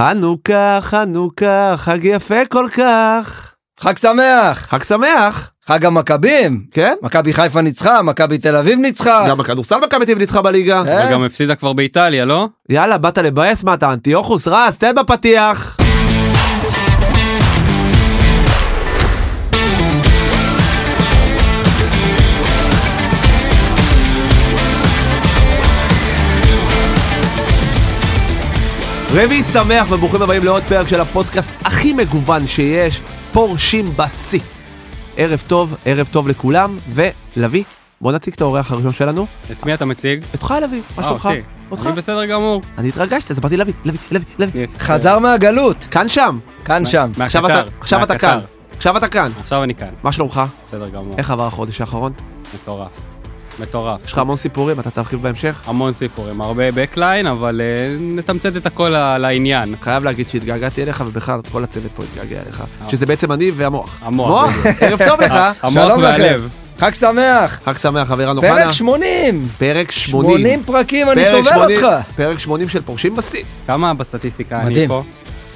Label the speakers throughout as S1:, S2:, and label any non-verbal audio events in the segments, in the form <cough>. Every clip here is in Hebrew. S1: חנוכה, חנוכה, חג יפה כל כך.
S2: חג שמח!
S1: חג שמח!
S2: חג המכבים!
S1: כן?
S2: מכבי חיפה ניצחה, מכבי תל אביב ניצחה.
S1: גם בכדורסל מכבי תל אביב ניצחה בליגה.
S2: אה?
S3: וגם הפסידה כבר באיטליה, לא?
S1: יאללה, באת לבאס? מה אתה אנטיוכוס? רז, תן בפתיח! רביעי שמח וברוכים הבאים לעוד פרק של הפודקאסט הכי מגוון שיש, פורשים בשיא. ערב טוב, ערב טוב לכולם, ולוי, בוא נציג את האורח הראשון שלנו,
S3: את מי אתה מציג?
S1: אותך לוי, מה
S3: אה,
S1: שלומך?
S3: אותי.
S1: אותך?
S3: אני בסדר גמור.
S1: אני התרגשתי, אז אמרתי לוי, לוי, לוי, לוי.
S2: חזר מהגלות,
S1: כאן שם,
S2: כאן שם.
S1: עכשיו
S3: מהקטר.
S1: אתה, עכשיו אתה
S3: מהקטר.
S1: כאן, עכשיו אתה כאן.
S3: עכשיו אני כאן.
S1: מה שלומך?
S3: בסדר גמור.
S1: איך עבר החודש האחרון?
S3: מטורף. מטורף.
S1: יש לך המון סיפורים, אתה תרחיב בהמשך?
S3: המון סיפורים, הרבה בקליין, אבל אה, נתמצת את הכל ל- לעניין.
S1: חייב להגיד שהתגעגעתי אליך, ובכלל כל הצוות פה התגעגע אליך, שזה בעצם אני והמוח.
S3: אה. המוח,
S1: מוח, <laughs> ערב טוב
S3: <laughs>
S1: לך.
S3: המוח
S2: שלום
S3: והלב.
S2: לכם. חג שמח!
S1: חג שמח, חברה נוחנה.
S2: פרק 80!
S1: פרק 80.
S2: 80 פרקים, אני
S1: אוקיי, פרק
S2: סובל
S1: 80,
S2: אותך!
S1: פרק 80 של פורשים בשיא.
S3: כמה בסטטיסטיקה אני
S2: מדהים.
S3: פה?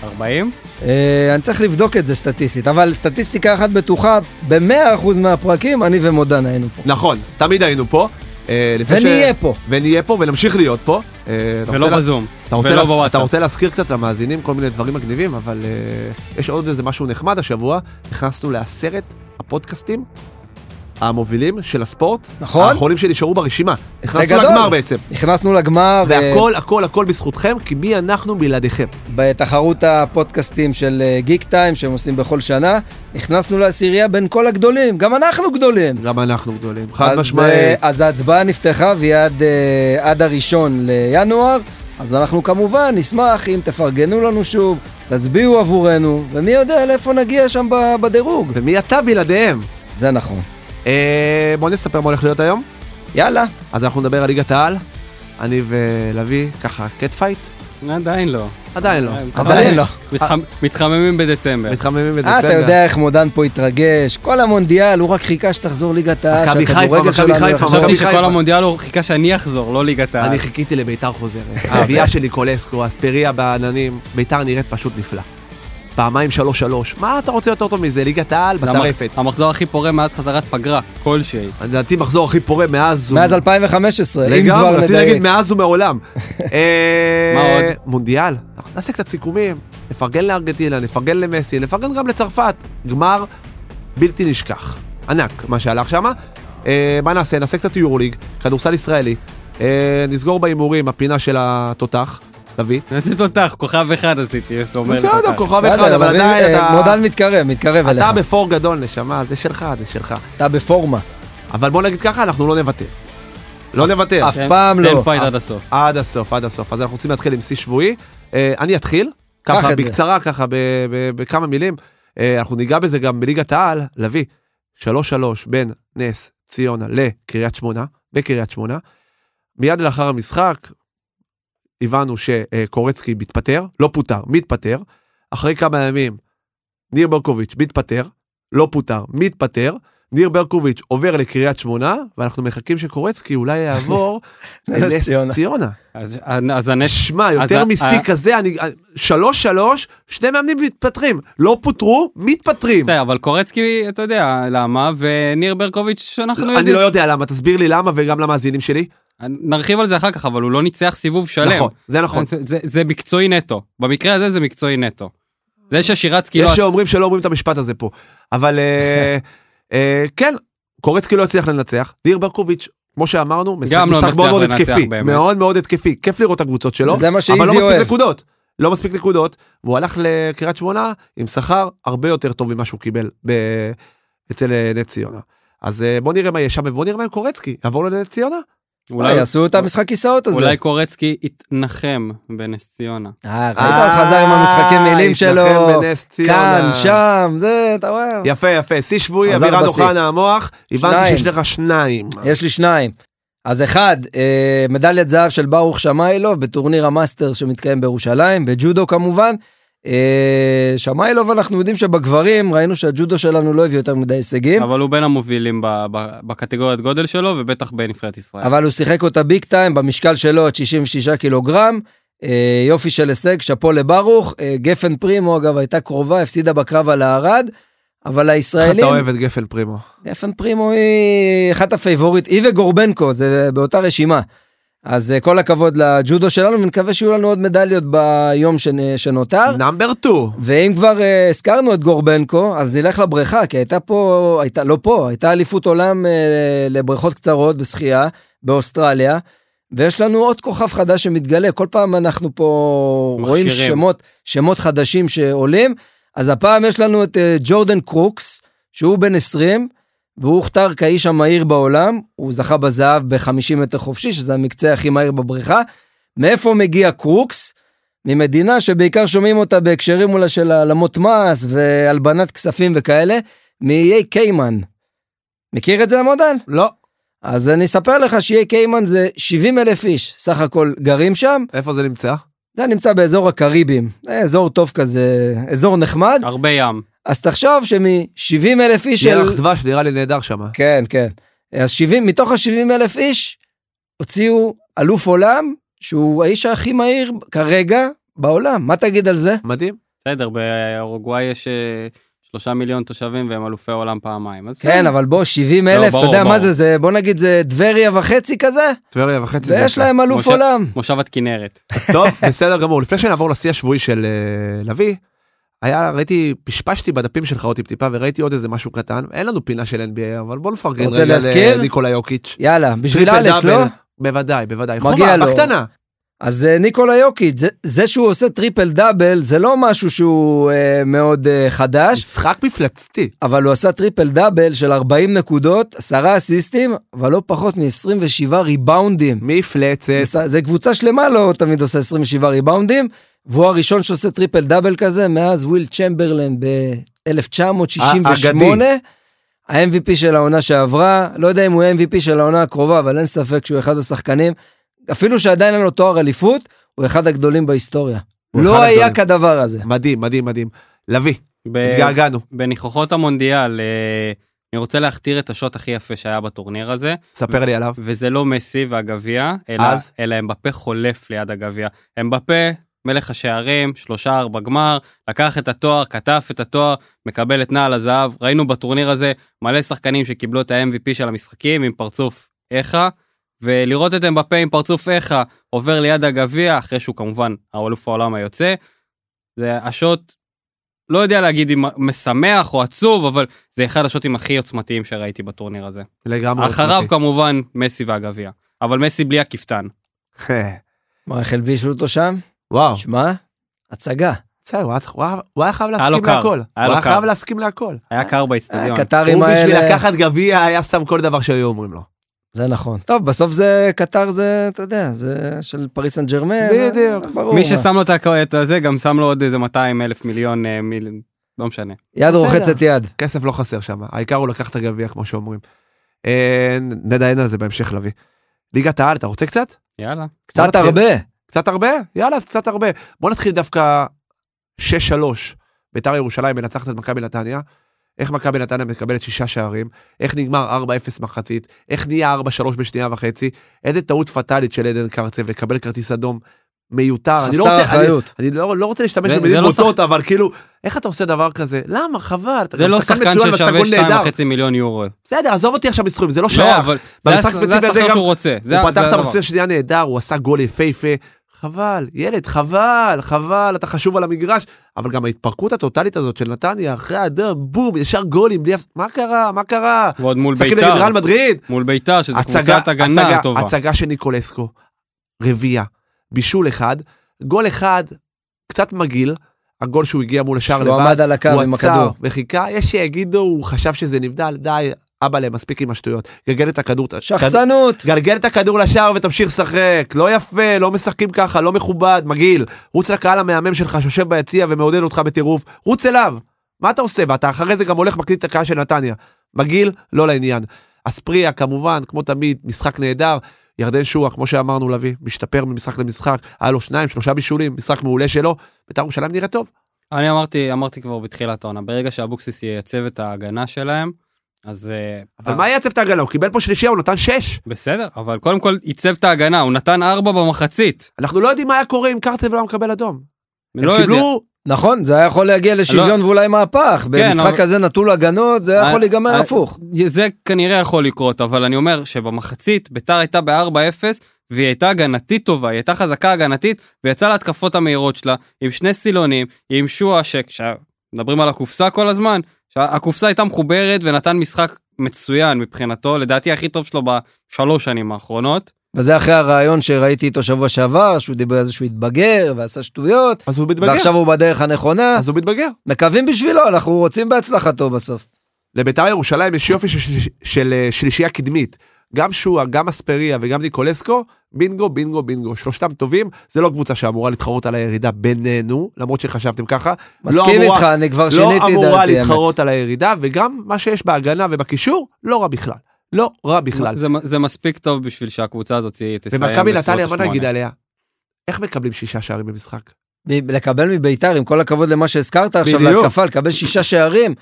S3: 40?
S2: אה, אני צריך לבדוק את זה סטטיסטית, אבל סטטיסטיקה אחת בטוחה, ב-100% מהפרקים אני ומודן היינו פה.
S1: נכון, תמיד היינו פה. אה, לפני ש-
S2: ונהיה פה.
S1: ונהיה פה ונמשיך להיות פה. אה, אתה
S3: ולא
S1: רוצה לה-
S3: בזום.
S1: אתה רוצה,
S3: ולא
S1: להס... אתה
S3: בוואטסאפ.
S1: רוצה להזכיר קצת למאזינים כל מיני דברים מגניבים, אבל uh, יש עוד איזה משהו נחמד השבוע, נכנסנו לעשרת הפודקאסטים המובילים של הספורט,
S2: נכון.
S1: האחרונים שנשארו ברשימה.
S2: הישג
S1: נכנסנו
S2: גדול.
S1: לגמר בעצם,
S2: נכנסנו לגמר, אה, ו-
S1: והכל הכל הכל בזכותכם, כי מי אנחנו בלעדיכם.
S2: בתחרות הפודקאסטים של אה, גיק טיים שהם עושים בכל שנה, נכנסנו לעשירייה בין כל הגדולים, גם אנחנו גדולים.
S1: גם אנחנו גדולים, חד
S2: אז, אה,
S1: משמעית.
S2: אז ההצבעה נפתחה והיא עד, אה, עד הראשון לינואר, אז אנחנו כמובן נשמח אם תפרגנו לנו שוב, תצביעו עבורנו, ומי יודע לאיפה נגיע שם ב- בדירוג.
S1: ומי אתה בלעדיהם?
S2: זה נכון.
S1: אה, בוא נספר מה הולך להיות היום.
S2: יאללה,
S1: אז אנחנו נדבר על ליגת העל, אני ולוי, ככה, קט פייט?
S3: עדיין לא.
S1: עדיין לא. אה.
S2: עדיין לא.
S3: מתחמ- מתחממים בדצמבר.
S1: מתחממים בדצמבר.
S2: אה, אתה יודע איך מודן פה התרגש, כל המונדיאל, הוא רק חיכה שתחזור ליגת העל,
S1: מכבי חיפה,
S2: שהכדורגל
S1: מכבי
S2: שלנו
S1: חיפה,
S2: יחזור.
S3: חשבתי
S1: מכבי חיפה.
S3: שכל המונדיאל הוא חיכה שאני אחזור, לא ליגת
S2: אה,
S3: העל.
S1: אני חיכיתי לביתר חוזרת. הרביעייה שלי קולסקו, אספריה בעננים, ביתר נראית פשוט נפלא. פעמיים שלוש שלוש, מה אתה רוצה יותר טוב מזה? ליגת העל
S3: זה המח-
S1: בטרפת.
S3: המחזור הכי פורה מאז חזרת פגרה, כלשהי.
S1: לדעתי מחזור הכי פורה מאז הוא...
S2: מאז 2015, אם
S1: לגמרי,
S2: כבר
S1: רציתי להגיד
S2: נדייק.
S1: מאז
S2: <laughs>
S1: ומעולם. אה,
S3: מה עוד?
S1: מונדיאל, אנחנו נעשה קצת סיכומים, נפרגן לארגנטינה, נפרגן למסי, נפרגן גם לצרפת. גמר בלתי נשכח, ענק מה שהלך שמה. אה, מה נעשה? נעשה קצת יורוליג, כדורסל ישראלי, אה, נסגור בהימורים הפינה של התותח, לביא.
S3: עשית אותך, כוכב אחד עשיתי, אתה אומר.
S1: בסדר,
S3: לתותח.
S1: כוכב אחד,
S2: בסדר,
S1: אבל
S2: אבל
S1: עדיין
S2: אה,
S1: אתה...
S2: מודן מתקרב, מתקרב אליך.
S1: אתה בפור גדול, נשמה, זה שלך, זה שלך.
S2: אתה בפורמה,
S1: אבל בוא נגיד ככה, אנחנו לא נוותר. לא נוותר.
S2: אף
S3: כן,
S2: פעם
S3: תן
S2: לא.
S3: פייט עד הסוף.
S1: עד הסוף, עד הסוף. אז אנחנו רוצים להתחיל עם שיא שבועי. אה, אני אתחיל,
S2: קח
S1: ככה
S2: את זה.
S1: בקצרה, ככה ב- ב- בכמה מילים. אה, אנחנו ניגע בזה גם בליגת העל, לביא, 3-3 בין נס ציונה לקריית שמונה, בקריית שמונה. מיד לאחר המשחק, הבנו שקורצקי מתפטר, לא פוטר, מתפטר. אחרי כמה ימים, ניר ברקוביץ' מתפטר, לא פוטר, מתפטר. ניר ברקוביץ' עובר לקריית שמונה, ואנחנו מחכים שקורצקי אולי יעבור
S2: <laughs> לנס
S1: לנס
S2: ציונה.
S1: ציונה.
S3: אז- אז הנס...
S1: שמע, יותר
S3: ה- אה,
S1: משיא
S3: ה-
S1: כזה, אני... אה, שלוש שלוש, שני מאמנים מתפטרים. לא פוטרו, מתפטרים.
S3: בסדר, אבל קורצקי, אתה יודע למה, וניר ברקוביץ', אנחנו
S1: אני
S3: יודעים.
S1: לא יודע למה, תסביר לי למה וגם למאזינים שלי.
S3: נרחיב על זה אחר כך, אבל הוא לא ניצח סיבוב שלם.
S1: נכון, זה נכון.
S3: זה- זה- זה מקצועי נטו. במקרה הזה זה מקצועי נטו. זה ששירצקי לא...
S1: יש שאומרים שלא אומרים את המשפט הזה פה. אבל
S3: <laughs>
S1: אה, אה, כן, קורצקי לא הצליח לנצח, ניר ברקוביץ', כמו שאמרנו, משחק
S3: גם לא
S1: משחק מאוד
S3: מצליח
S1: מאוד
S3: לנצח
S1: התקפי,
S3: באמת.
S1: מאוד מאוד התקפי, כיף לראות את הקבוצות שלו,
S2: זה מה
S1: אבל לא
S2: שאיזי
S1: מספיק
S2: אוהב.
S1: נקודות. לא מספיק נקודות, והוא הלך לקריית שמונה עם שכר הרבה יותר טוב ממה שהוא קיבל ב- אצל אה, נס ציונה. אז אה, בוא נראה מה יש שם ובוא נראה מה עם קורצקי, יעבור לנס ציונה?
S3: אולי-
S2: אולי אה,
S1: אה,
S2: יעשו את המשחק כיסאות הזה.
S3: אולי קורצקי יתנחם בנס ציונה.
S2: אה, ראית הוא חזר עם המשחקי מילים
S1: אה,
S2: שלו,
S1: התנחם בנס
S2: כאן,
S1: ציונה.
S2: שם, זה, אתה רואה?
S1: יפה יפה, שיא שבועי,
S2: חזר
S1: אבירן
S2: בשיא.
S1: אוחנה המוח, הבנתי
S2: שניים.
S1: שיש לך שניים.
S2: יש לי שניים. אז אחד, אה, מדליית זהב של ברוך שמאילוב בטורניר המאסטרס שמתקיים בירושלים, בג'ודו כמובן. אה, שמאילוב, אנחנו יודעים שבגברים ראינו שהג'ודו שלנו לא הביא יותר מדי
S1: כן.
S2: הישגים,
S3: אבל הוא בין המובילים ב- ב- בקטגוריית גודל שלו, ובטח בנבחרת ישראל.
S2: אבל הוא שיחק אותה ביג טיים במשקל שלו עד 66 קילוגרם. אה, יופי של הישג, שאפו לברוך. אה, גפן פרימו, אגב, הייתה קרובה, הפסידה בקרב על הערד, אבל
S1: איך אתה
S2: הישראלים...
S1: אוהב את גפן פרימו?
S2: גפן פרימו היא אחת הפייבוריט, היא וגורבנקו, זה באותה רשימה. אז אה, כל הכבוד לג'ודו שלנו, ונקווה שיהיו לנו עוד מדליות ביום שנ- שנותר.
S1: נאמבר 2.
S2: ואם כבר אה, הזכרנו את גורבנקו, אז נלך לבריכה, כי הייתה פה, הייתה, לא פה, הייתה אליפות עולם אה, לבריכות קצרות בשחייה באוסטרליה, ויש לנו עוד כוכב חדש שמתגלה, כל פעם אנחנו פה
S3: מכשירים.
S2: רואים שמות, שמות חדשים שעולים, אז הפעם יש לנו את אה, ג'ורדן קרוקס, שהוא בן 20, והוא הוכתר כאיש המהיר בעולם, הוא זכה בזהב ב-50 מטר חופשי, שזה המקצה הכי מהיר בבריכה. מאיפה מגיע קרוקס? ממדינה שבעיקר שומעים אותה בהקשרים אולי של העלמות מס והלבנת כספים וכאלה, מאיי קיימן. מכיר את זה המודל?
S1: לא.
S2: אז אני אספר לך שאיי קיימן זה 70 אלף איש, סך הכל גרים שם,
S1: איפה זה נמצא?
S2: זה נמצא באזור הקריבים, זה אזור טוב כזה, אזור נחמד,
S3: הרבה ים.
S2: אז תחשוב שמ-70 אלף איש של...
S1: ירח דבש נראה לי נהדר שם.
S2: כן, כן. אז 70, מתוך ה-70 אלף איש, הוציאו אלוף עולם, שהוא האיש הכי מהיר כרגע בעולם. מה תגיד על זה?
S1: מדהים.
S3: בסדר, באורוגוואי יש אה, שלושה מיליון תושבים והם אלופי עולם פעמיים. אז
S2: כן,
S3: בסדר.
S2: אבל בוא, 70
S3: לא,
S2: אלף, אתה
S3: ברור,
S2: יודע מה
S3: ברור.
S2: זה, זה, בוא נגיד זה טבריה וחצי כזה,
S1: טבריה וחצי. זה
S2: ויש
S1: יפה.
S2: להם אלוף
S3: משה-
S2: עולם.
S3: מושבת כנרת.
S1: טוב, בסדר גמור. לפני שנעבור לשיא השבועי של אה, לביא, היה, ראיתי, פשפשתי בדפים שלך עוד טיפ-טיפה וראיתי עוד איזה משהו קטן. אין לנו פינה של NBA, אבל בוא נפרגן
S2: רוצה
S1: רגע
S2: להזכיר?
S1: לניקולה יוקיץ'.
S2: יאללה, בשביל
S1: טריפל
S2: אלכס, לא?
S1: דאבל. בוודאי, בוודאי.
S2: מגיע
S1: חובה,
S2: לו.
S1: בקטנה.
S2: אז אה, ניקולה יוקיץ', זה- זה שהוא עושה טריפל דאבל, זה לא משהו שהוא אה, מאוד אה, חדש,
S1: משחק מפלצתי.
S2: אבל הוא עשה טריפל דאבל של 40 נקודות, 10 אסיסטים, אבל לא פחות מ-27 ריבאונדים.
S1: מפלצת.
S2: זה- זה קבוצה שלמה לא תמיד עושה 27 ריבאונדים, והוא הראשון שעושה טריפל דאבל כזה מאז וויל צ'מברלן ב-1968.
S1: האגדי.
S2: ה-MVP של העונה שעברה, לא יודע אם הוא MVP של העונה הקרובה, אבל אין ספק שהוא אחד השחקנים, אפילו שעדיין אין לו תואר אליפות, הוא אחד הגדולים בהיסטוריה.
S1: הוא
S2: לא
S1: אחד
S2: היה
S1: הגדולים.
S2: כדבר הזה.
S1: מדהים, מדהים, מדהים. לביא,
S3: ב-
S1: התגעגענו.
S3: בניחוחות המונדיאל, אה, אני רוצה להכתיר את השוט הכי יפה שהיה בטורניר הזה,
S1: ספר לי עליו.
S3: וזה לא מסי והגביע, אלא,
S1: אז?
S3: אלא אמבפה חולף ליד הגביע. אמבפה, מלך השערים, שלושה ארבע גמר, לקח את התואר, כתף את התואר, מקבל את נעל הזהב. ראינו בטורניר הזה מלא שחקנים שקיבלו את ה-MVP של המשחקים עם פרצוף איכה, ולראות את אמבפה עם פרצוף איכה עובר ליד הגביע, אחרי שהוא כמובן האלוף העולם היוצא, זה השוט, לא יודע להגיד אם משמח או עצוב, אבל זה אחד השוטים הכי עוצמתיים שראיתי בטורניר הזה.
S1: לגמרי.
S3: אחריו
S1: עוצמתי.
S3: כמובן מסי והגביע, אבל מסי בלי הכפתן.
S2: מה, איך הלבישו אותו שם?
S1: <laughs> וואו.
S2: שמע, הצגה.
S1: בסדר, הוא היה- הוא היה- הוא היה חייב
S3: היה לו
S1: להסכים
S3: קר,
S1: להכל. הוא
S3: היה לו
S1: היה
S3: קר.
S1: חייב להסכים להכל.
S3: היה קר באיצטדיון.
S1: אה,
S2: הקטרים
S1: הוא בשביל
S2: האלה,
S1: לקחת גביע היה שם כל דבר שהיו אומרים לו.
S2: זה נכון. טוב, בסוף זה קטר זה, אתה יודע, זה של פריס סן ג'רמן.
S1: בדיוק.
S2: ברור.
S3: מי
S2: מה.
S3: ששם לו את הכ- את הזה גם שם לו עוד איזה 200 אלף מיליון, אה, מיל- לא משנה.
S2: יד רוחצת יד.
S1: כסף לא חסר שם, העיקר הוא לקח את הגביע כמו שאומרים. אה, נדיין על זה בהמשך לביא. ליגת העל, אתה רוצה קצת?
S3: יאללה.
S1: בוא
S2: קצת
S1: נתחיל.
S2: הרבה.
S1: קצת הרבה? יאללה, קצת הרבה. בוא נתחיל דווקא 6-3. ביתר ירושלים מנצחת את מכבי נתניה. איך מכבי נתניה מקבלת שישה שערים, איך נגמר 4-0 מחצית, איך נהיה 4-3 בשנייה וחצי, איזה טעות פטאלית של עדן קרצב לקבל כרטיס אדום מיותר. אני לא
S2: חסר
S1: רוצה- אני-
S2: אחריות.
S1: אני לא, לא רוצה להשתמש
S3: זה- זה
S1: במילים
S3: לא
S1: בוטות, אבל כאילו, איך אתה עושה דבר כזה? למה? חבל. אתה
S3: זה
S1: גם
S3: לא שחקן
S1: מצוין ואתה
S3: ששווה
S1: גול נהדר.
S3: 2.5 מיליון יורו.
S1: <laughs> בסדר, עזוב אותי עכשיו מסכומים, זה לא
S3: לא,
S1: שייך.
S3: אבל זה
S1: במשחק
S3: הש-
S1: ספציפי
S3: זה
S1: הזה
S3: השחקן
S1: גם-
S3: שהוא רוצה. זה
S1: הוא
S3: ה- זה
S1: פתח את
S3: הדבר.
S1: המחצית השנייה נהדר, הוא עשה גול יפהפה. חבל, ילד, חבל, חבל, אתה חשוב על המגרש. אבל גם ההתפרקות הטוטלית הזאת של נתניה, אחרי האדם, בום, ישר גולים, בלי הפס... מה קרה? מה קרה?
S3: ועוד מול
S1: משחקים נגד ריאל
S3: ביתר.
S1: מדריד.
S3: מול ביתר, שזו קבוצת הגנה
S1: הצגה,
S3: טובה.
S1: הצגה של ניקולסקו, רביעייה, בישול אחד, גול אחד, קצת מגעיל, הגול שהוא הגיע מול השער
S2: שהוא
S1: לבד.
S2: עמד על הקו
S1: הוא
S2: עם
S1: עצר
S2: הכדור.
S1: וחיכה, יש שיגידו, הוא חשב שזה נבדל, די, אבאלה, מספיק עם השטויות. גלגל את הכדור.
S2: שחצנות.
S1: גלגל את הכדור לשער ותמשיך לשחק. לא יפה, לא משחקים ככה, לא מכובד, מגעיל. רוץ לקהל המהמם שלך שיושב ביציע ומעודד אותך בטירוף, רוץ אליו. מה אתה עושה? ואתה אחרי זה גם הולך מקליט את הקהל של נתניה. מגעיל, לא לעניין. אספריה כמובן, כמו תמיד, משחק נהדר. ירדן שועה, כמו שאמרנו לביא, משתפר ממשחק למשחק, היה לו שניים, שלושה בישולים, משחק מעולה שלו, בית"ר ירושלים נראה טוב.
S3: אני אמרתי אמרתי כבר בתחילת העונה ברגע שאבוקסיס ייצב את ההגנה שלהם אז... אה,
S1: אבל
S3: אה,
S1: מה יעצב את ההגנה? הוא קיבל פה שלישייה, הוא נתן שש.
S3: בסדר, אבל קודם כל עיצב את ההגנה, הוא נתן ארבע במחצית.
S1: אנחנו לא יודעים מה היה קורה אם קרטב לא היה מקבל אדום.
S3: לא
S1: הם
S3: יודע.
S1: קיבלו,
S2: נכון, זה היה יכול
S1: לא-
S2: להגיע לשוויון ואולי
S1: כן,
S2: מהפך. במשחק
S3: אבל-
S2: כזה נטול הגנות, זה היה
S3: אה,
S2: יכול להיגמר
S3: אה,
S2: הפוך.
S3: זה כנראה יכול לקרות, אבל אני אומר שבמחצית ביתר הייתה ב-4-0, והיא הייתה הגנתית טובה, היא הייתה חזקה הגנתית, ויצאה להתקפות המהירות שלה, עם שני סילונים, עם שועה, שמדברים על הקופסה כל הזמן, שהקופסה הייתה מחוברת ונתן משחק מצוין מבחינתו, לדעתי הכי טוב שלו בשלוש שנים האחרונות.
S2: וזה אחרי הרעיון שראיתי איתו שבוע שעבר, שהוא דיבר על זה שהוא התבגר ועשה שטויות,
S1: אז הוא מתבגר.
S2: ועכשיו הוא בדרך הנכונה.
S1: אז הוא מתבגר.
S2: מקווים בשבילו, אנחנו רוצים בהצלחתו בסוף.
S1: לביתר ירושלים יש יופי של, של, של אה, שלישייה קדמית. גם שועה, גם אספריה וגם ניקולסקו, בינגו, בינגו, בינגו. שלושתם טובים, זה לא קבוצה שאמורה להתחרות על הירידה בינינו, למרות שחשבתם ככה. לא
S2: מסכים
S1: אמורה-
S2: איתך, אני כבר שיניתי
S1: לא
S2: דעתי.
S1: אמורה
S2: האמת.
S1: להתחרות על הירידה, וגם מה שיש בהגנה ובקישור, לא רע בכלל. לא רע בכלל.
S3: זה, זה מספיק טוב בשביל שהקבוצה הזאת תסיים
S1: ומכבי נתניה, מה
S3: השמונה.
S1: נגיד עליה? איך מקבלים שישה שערים במשחק?
S2: מ- לקבל מביתר, עם כל הכבוד למה שהזכרת עכשיו
S1: בדיוק.
S2: להתקפה, לקבל שישה שערים.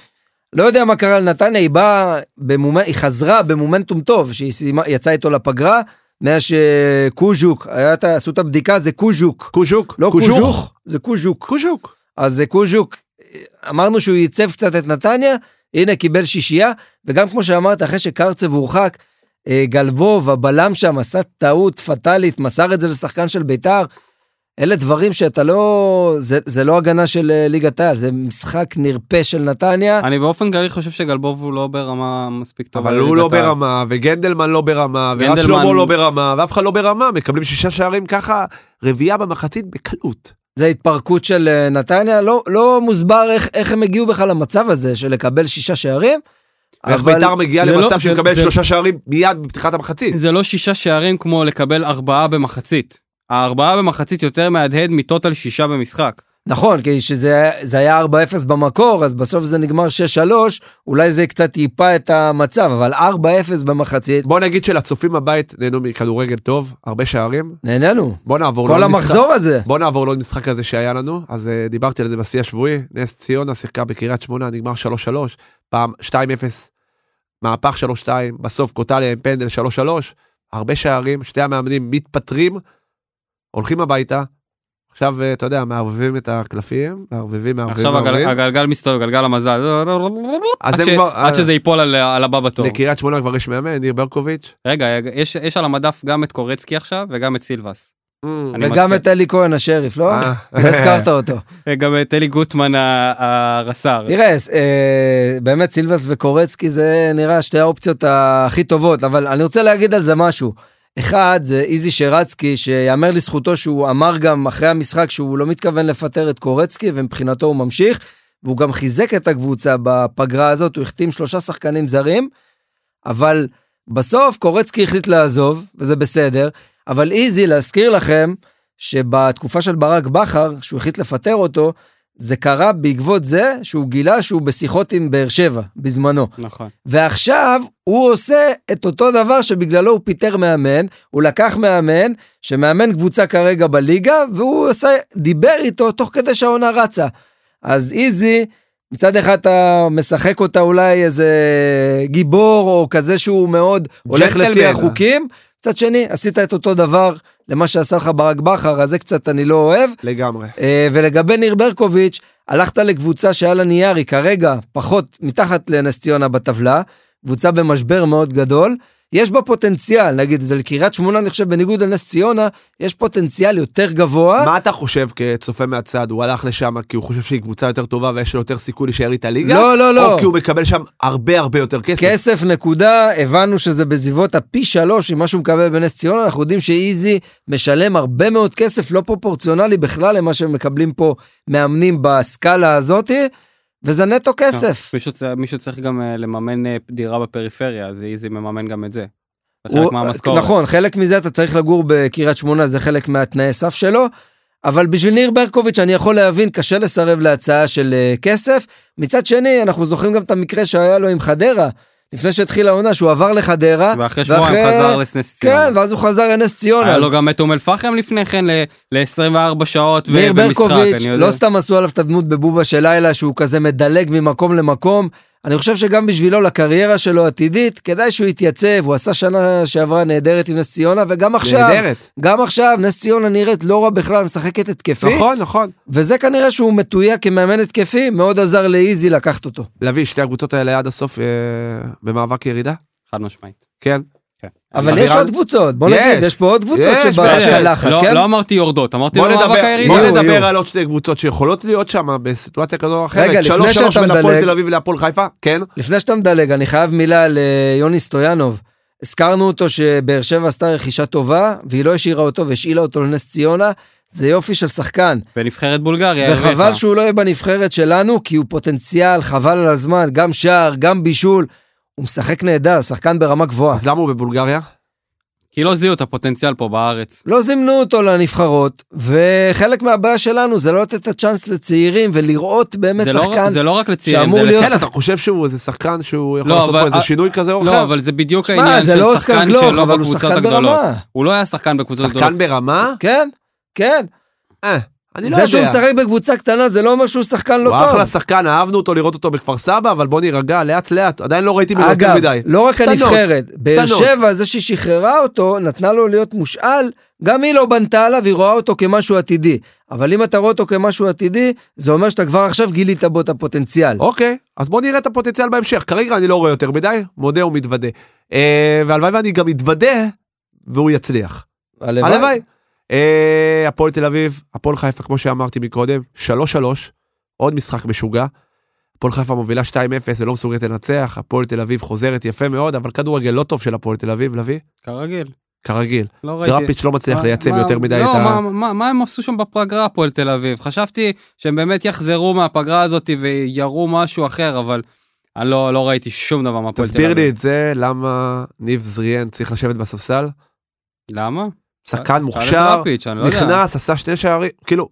S2: לא יודע מה קרה לנתניה, היא באה, במומ... היא חזרה במומנטום טוב, שהיא סיימה, יצאה איתו לפגרה, מאז שקוז'וק, היה את ה- עשו את הבדיקה, זה קוז'וק.
S1: קוז'וק.
S2: לא
S1: קוז'וך.
S2: קוז'וך, זה קוז'וק.
S1: קוז'וק.
S2: אז זה קוז'וק, אה, אמרנו שהוא ייצב קצת את נתניה, הנה קיבל שישייה, וגם כמו שאמרת, אחרי שקרצב הורחק, אה, גלבוב, הבלם שם, עשה טעות פטאלית, מסר את זה לשחקן של ביתר. אלה דברים שאתה לא... זה, זה לא הגנה של אה, ליגת העל, זה משחק נרפה של נתניה.
S3: אני באופן כללי חושב שגלבוב הוא לא ברמה מספיק טובה.
S1: אבל הוא לא
S3: לליגת העל.
S1: ברמה, וגנדלמן לא ברמה, ורב
S3: גנדלמן-
S1: שלמה לא ברמה, ואף אחד לא ברמה, מקבלים שישה שערים ככה, רביעייה במחצית בקלות.
S2: זה התפרקות של אה, נתניה, לא, לא מוסבר איך, איך הם הגיעו בכלל למצב הזה של לקבל שישה שערים.
S1: ואיך
S2: אבל-
S1: ביתר מגיעה
S3: זה לא-
S1: למצב
S3: זה-
S1: שהוא מקבל
S3: זה-
S1: שלושה שערים מיד בפתיחת המחצית.
S3: זה לא שישה שערים כמו לקבל ארבעה במחצית. הארבעה במחצית יותר מהדהד מטוטל שישה במשחק.
S2: נכון, כי שזה זה היה 4-0 במקור, אז בסוף זה נגמר 6-3, אולי זה קצת ייפה את המצב, אבל 4-0 במחצית,
S1: בוא נגיד שלצופים בבית נהנו מכדורגל טוב, הרבה שערים.
S2: נהנינו.
S1: בוא נעבור
S3: לא
S1: לא
S2: כל
S1: לעוד משחק.
S2: המחזור הזה.
S1: בוא נעבור לעוד משחק כזה שהיה לנו, אז אה, דיברתי על זה בשיא השבועי, נס ציונה שיחקה בקריית שמונה, נגמר 3-3, פעם 2-0, מהפך 3-2, בסוף קוטליה עם פנדל 3-3, הרבה שערים, שתי המאמנים מתפטרים, הולכים הביתה, עכשיו אה, אתה יודע, מערבבים את הקלפים, מערבבים, מערבבים,
S3: עכשיו הגל-
S1: מערבבים,
S3: הגלגל מסתובב, גלגל המזל.
S1: אוקיי, אז
S3: עד
S1: הם
S3: ש-
S1: כבר- אה,
S3: עד שזה ייפול על- על הבא בתור.
S1: לקריית שמונה כבר יש מאמן, ניר ברקוביץ',
S3: רגע, יש- יש על המדף גם את קורצקי עכשיו וגם את סילבס. אני
S2: וגם
S3: מסכים.
S2: את אלי כהן השריף, לא?
S1: אה.
S2: לא הזכרת אותו.
S3: אה, גם את אלי גוטמן ה- הרס"ר.
S2: תראה, ס- אה, באמת סילבס וקורצקי זה נראה שתי האופציות הכי טובות, אבל אני רוצה להגיד על זה משהו. אחד, זה איזי שרצקי, שיאמר לזכותו שהוא אמר גם אחרי המשחק שהוא לא מתכוון לפטר את קורצקי, ומבחינתו הוא ממשיך, והוא גם חיזק את הקבוצה בפגרה הזאת, הוא החתים שלושה שחקנים זרים, אבל בסוף קורצקי החליט לעזוב, וזה בסדר, אבל איזי, להזכיר לכם, שבתקופה של ברק בכר, שהוא החליט לפטר אותו, זה קרה בעקבות זה שהוא גילה שהוא בשיחות עם באר שבע בזמנו.
S3: נכון.
S2: ועכשיו הוא עושה את אותו דבר שבגללו הוא פיטר מאמן, הוא לקח מאמן שמאמן קבוצה כרגע בליגה, והוא עשה, דיבר איתו תוך כדי שהעונה רצה. אז איזי, מצד אחד אתה משחק אותה אולי איזה גיבור או כזה שהוא מאוד הולך לפי
S1: ג'נטלמן.
S2: החוקים, מצד שני עשית את אותו דבר למה שעשה לך ברק בכר, אז זה קצת אני לא אוהב.
S1: <laughs> לגמרי.
S2: אה, ולגבי ניר ברקוביץ', הלכת לקבוצה שעל הנייר היא כרגע פחות מתחת לנס ציונה בטבלה, קבוצה במשבר מאוד גדול, יש בה פוטנציאל, נגיד זה לקריית שמונה אני חושב בניגוד לנס ציונה, יש פוטנציאל יותר גבוה.
S1: מה אתה חושב כצופה מהצד, הוא הלך לשם כי הוא חושב שהיא קבוצה יותר טובה ויש לו יותר סיכוי להישאר איתה ליגה?
S2: לא, לא, לא.
S1: או כי הוא מקבל שם הרבה הרבה יותר כסף?
S2: כסף נקודה, הבנו שזה בסביבות הפי שלוש ממה שהוא מקבל בנס ציונה, אנחנו יודעים שאיזי משלם הרבה מאוד כסף לא פרופורציונלי בכלל למה שמקבלים פה מאמנים בסקאלה הזאתי, וזה נטו כסף.
S3: מישהו צ- מישהו צריך גם אה, לממן אה, דירה בפריפריה, אז איזי מממן גם את זה. זה
S2: הוא-
S3: חלק מהמשכורת.
S2: נכון, חלק מזה אתה צריך לגור בקריית שמונה, זה חלק מהתנאי סף שלו. אבל בשביל ניר ברקוביץ' אני יכול להבין, קשה לסרב להצעה של אה, כסף. מצד שני, אנחנו זוכרים גם את המקרה שהיה לו עם חדרה, לפני שהתחילה העונה, שהוא עבר לחדרה.
S3: ואחרי שבועיים
S2: ואחרי-
S3: חזר לנס ציונה.
S2: כן, ואז הוא חזר לנס ציונה.
S3: היה
S2: לא, אז
S3: לו גם את אום אל-פחם לפני כן ל-24 שעות ו-
S2: ניר
S3: ומשחק,
S2: ברקוביץ',
S3: אני יודע.
S2: לא סתם עשו עליו את הדמות בבובה של לילה, שהוא כזה מדלג ממקום למקום. אני חושב שגם בשבילו לקריירה שלו עתידית, כדאי שהוא יתייצב, הוא עשה שנה שעברה נהדרת עם נס ציונה, וגם עכשיו,
S1: נהדרת.
S2: גם עכשיו נס ציונה נראית לא רע בכלל, משחקת התקפי,
S1: נכון, נכון.
S2: וזה כנראה שהוא מתויג כמאמן התקפי, מאוד עזר לאיזי לקחת אותו.
S1: לביא, שתי הקבוצות האלה עד הסוף אה, במאבק ירידה?
S3: חד משמעית.
S1: כן.
S3: כן.
S2: אבל
S1: אבירן-
S2: יש עוד קבוצות, בוא נגיד,
S1: יש.
S2: יש פה עוד קבוצות
S1: יש,
S2: שבאות
S1: בהחלט.
S2: ללחץ,
S3: לא-
S2: כן?
S3: לא אמרתי יורדות, אמרתי לא
S1: בוא
S3: במאבק
S1: נדבר,
S3: הירידה.
S1: בוא
S2: יהיו,
S1: נדבר
S2: יהיו.
S1: על עוד שתי קבוצות שיכולות להיות שם בסיטואציה כזו או
S2: רגע,
S1: אחרת.
S2: לפני
S1: שלוש שלוש
S2: שאתה
S1: בין הפועל
S2: מדלג-
S1: תל אביב להפועל חיפה? כן.
S2: לפני שאתה מדלג, אני חייב מילה ליוני סטויאנוב. הזכרנו אותו שבאר שבע עשתה רכישה טובה, והיא לא השאירה אותו והשאילה אותו לנס ציונה. זה יופי של שחקן,
S3: ונבחרת
S1: כן,
S3: בולגריה.
S2: וחבל
S3: הרוויחה.
S2: שהוא לא יהיה בנבחרת שלנו, כי הוא פוטנציאל, חבל על הזמן, גם שער, גם בישול. הוא משחק נהדר, שחקן ברמה גבוהה.
S1: אז למה הוא בבולגריה?
S3: כי לא זיהו את הפוטנציאל פה בארץ.
S2: לא זימנו אותו לנבחרות, וחלק מהבעיה שלנו זה לא לתת את הצ'אנס לצעירים ולראות באמת
S3: זה לא-
S2: שחקן.
S3: זה לא רק לצעירים,
S2: שאמור
S3: זה
S2: להיות-
S3: לצד
S1: כן, אתה חושב שהוא איזה שחקן שהוא יכול
S3: לא,
S1: לעשות פה
S3: אבל-
S1: איזה שינוי כזה או
S3: לא,
S1: אחר?
S3: אבל זה בדיוק
S2: שמע,
S3: העניין
S2: זה
S3: של
S2: לא אוסקר
S3: שחקן
S2: גלוך,
S3: שלא
S2: אבל הוא
S3: בקבוצות
S2: שחקן
S3: הגדולות.
S2: ברמה.
S3: הוא לא היה שחקן בקבוצות גדולות.
S1: שחקן ברמה?
S2: כן, כן.
S1: אה, אני לא
S2: זה שהוא
S1: יודע.
S2: משחק בקבוצה קטנה זה לא אומר שהוא שחקן לא
S1: הוא
S2: טוב.
S1: אחלה שחקן, אהבנו אותו לראות אותו בכפר סבא, אבל בוא נירגע לאט לאט, עדיין לא ראיתי ממנו יותר
S2: אגב,
S1: מדי.
S2: לא רק
S1: קטנות,
S2: הנבחרת, באר
S1: קטנות.
S2: שבע, זה שהיא שחררה אותו, נתנה לו להיות מושאל, גם היא לא בנתה עליו, היא רואה אותו כמשהו עתידי. אבל אם אתה רואה אותו כמשהו עתידי, זה אומר שאתה כבר עכשיו גילית בו את הפוטנציאל.
S1: אוקיי, אז בוא נראה את הפוטנציאל בהמשך. כרגע אני לא רואה יותר מדי, מודה ומתוודה. אה, והלוואי ואני גם אתוודה, והוא יצליח. הלוואי. אה, הפועל תל אביב, הפועל חיפה, כמו שאמרתי מקודם, 3-3, עוד משחק משוגע. הפועל חיפה מובילה 2-0, ולא מסוגלת לא לנצח, הפועל תל אביב חוזרת יפה מאוד, אבל כדורגל לא טוב של הפועל תל אביב, לביא,
S3: כרגיל,
S1: כרגיל.
S3: לא ראיתי.
S1: דראפיץ' לא מצליח
S3: מה-
S1: לייצב
S3: מה-
S1: יותר מדי
S3: לא,
S1: את ה...
S3: מה- מה- מה הם עשו שם בפגרה הפועל תל אביב? חשבתי שהם באמת יחזרו מהפגרה הזאת ויראו משהו אחר, אבל אני לא לא ראיתי שום דבר מהפועל תל אביב.
S1: תסביר לי את זה, למה ניב זריאן צריך לשבת בספסל?
S3: למה? תעלה
S1: שחקן
S3: את
S1: מוכשר,
S3: דראפיץ', אה, אני לא יודע.
S1: נכנס, עשה שני שערים, כאילו,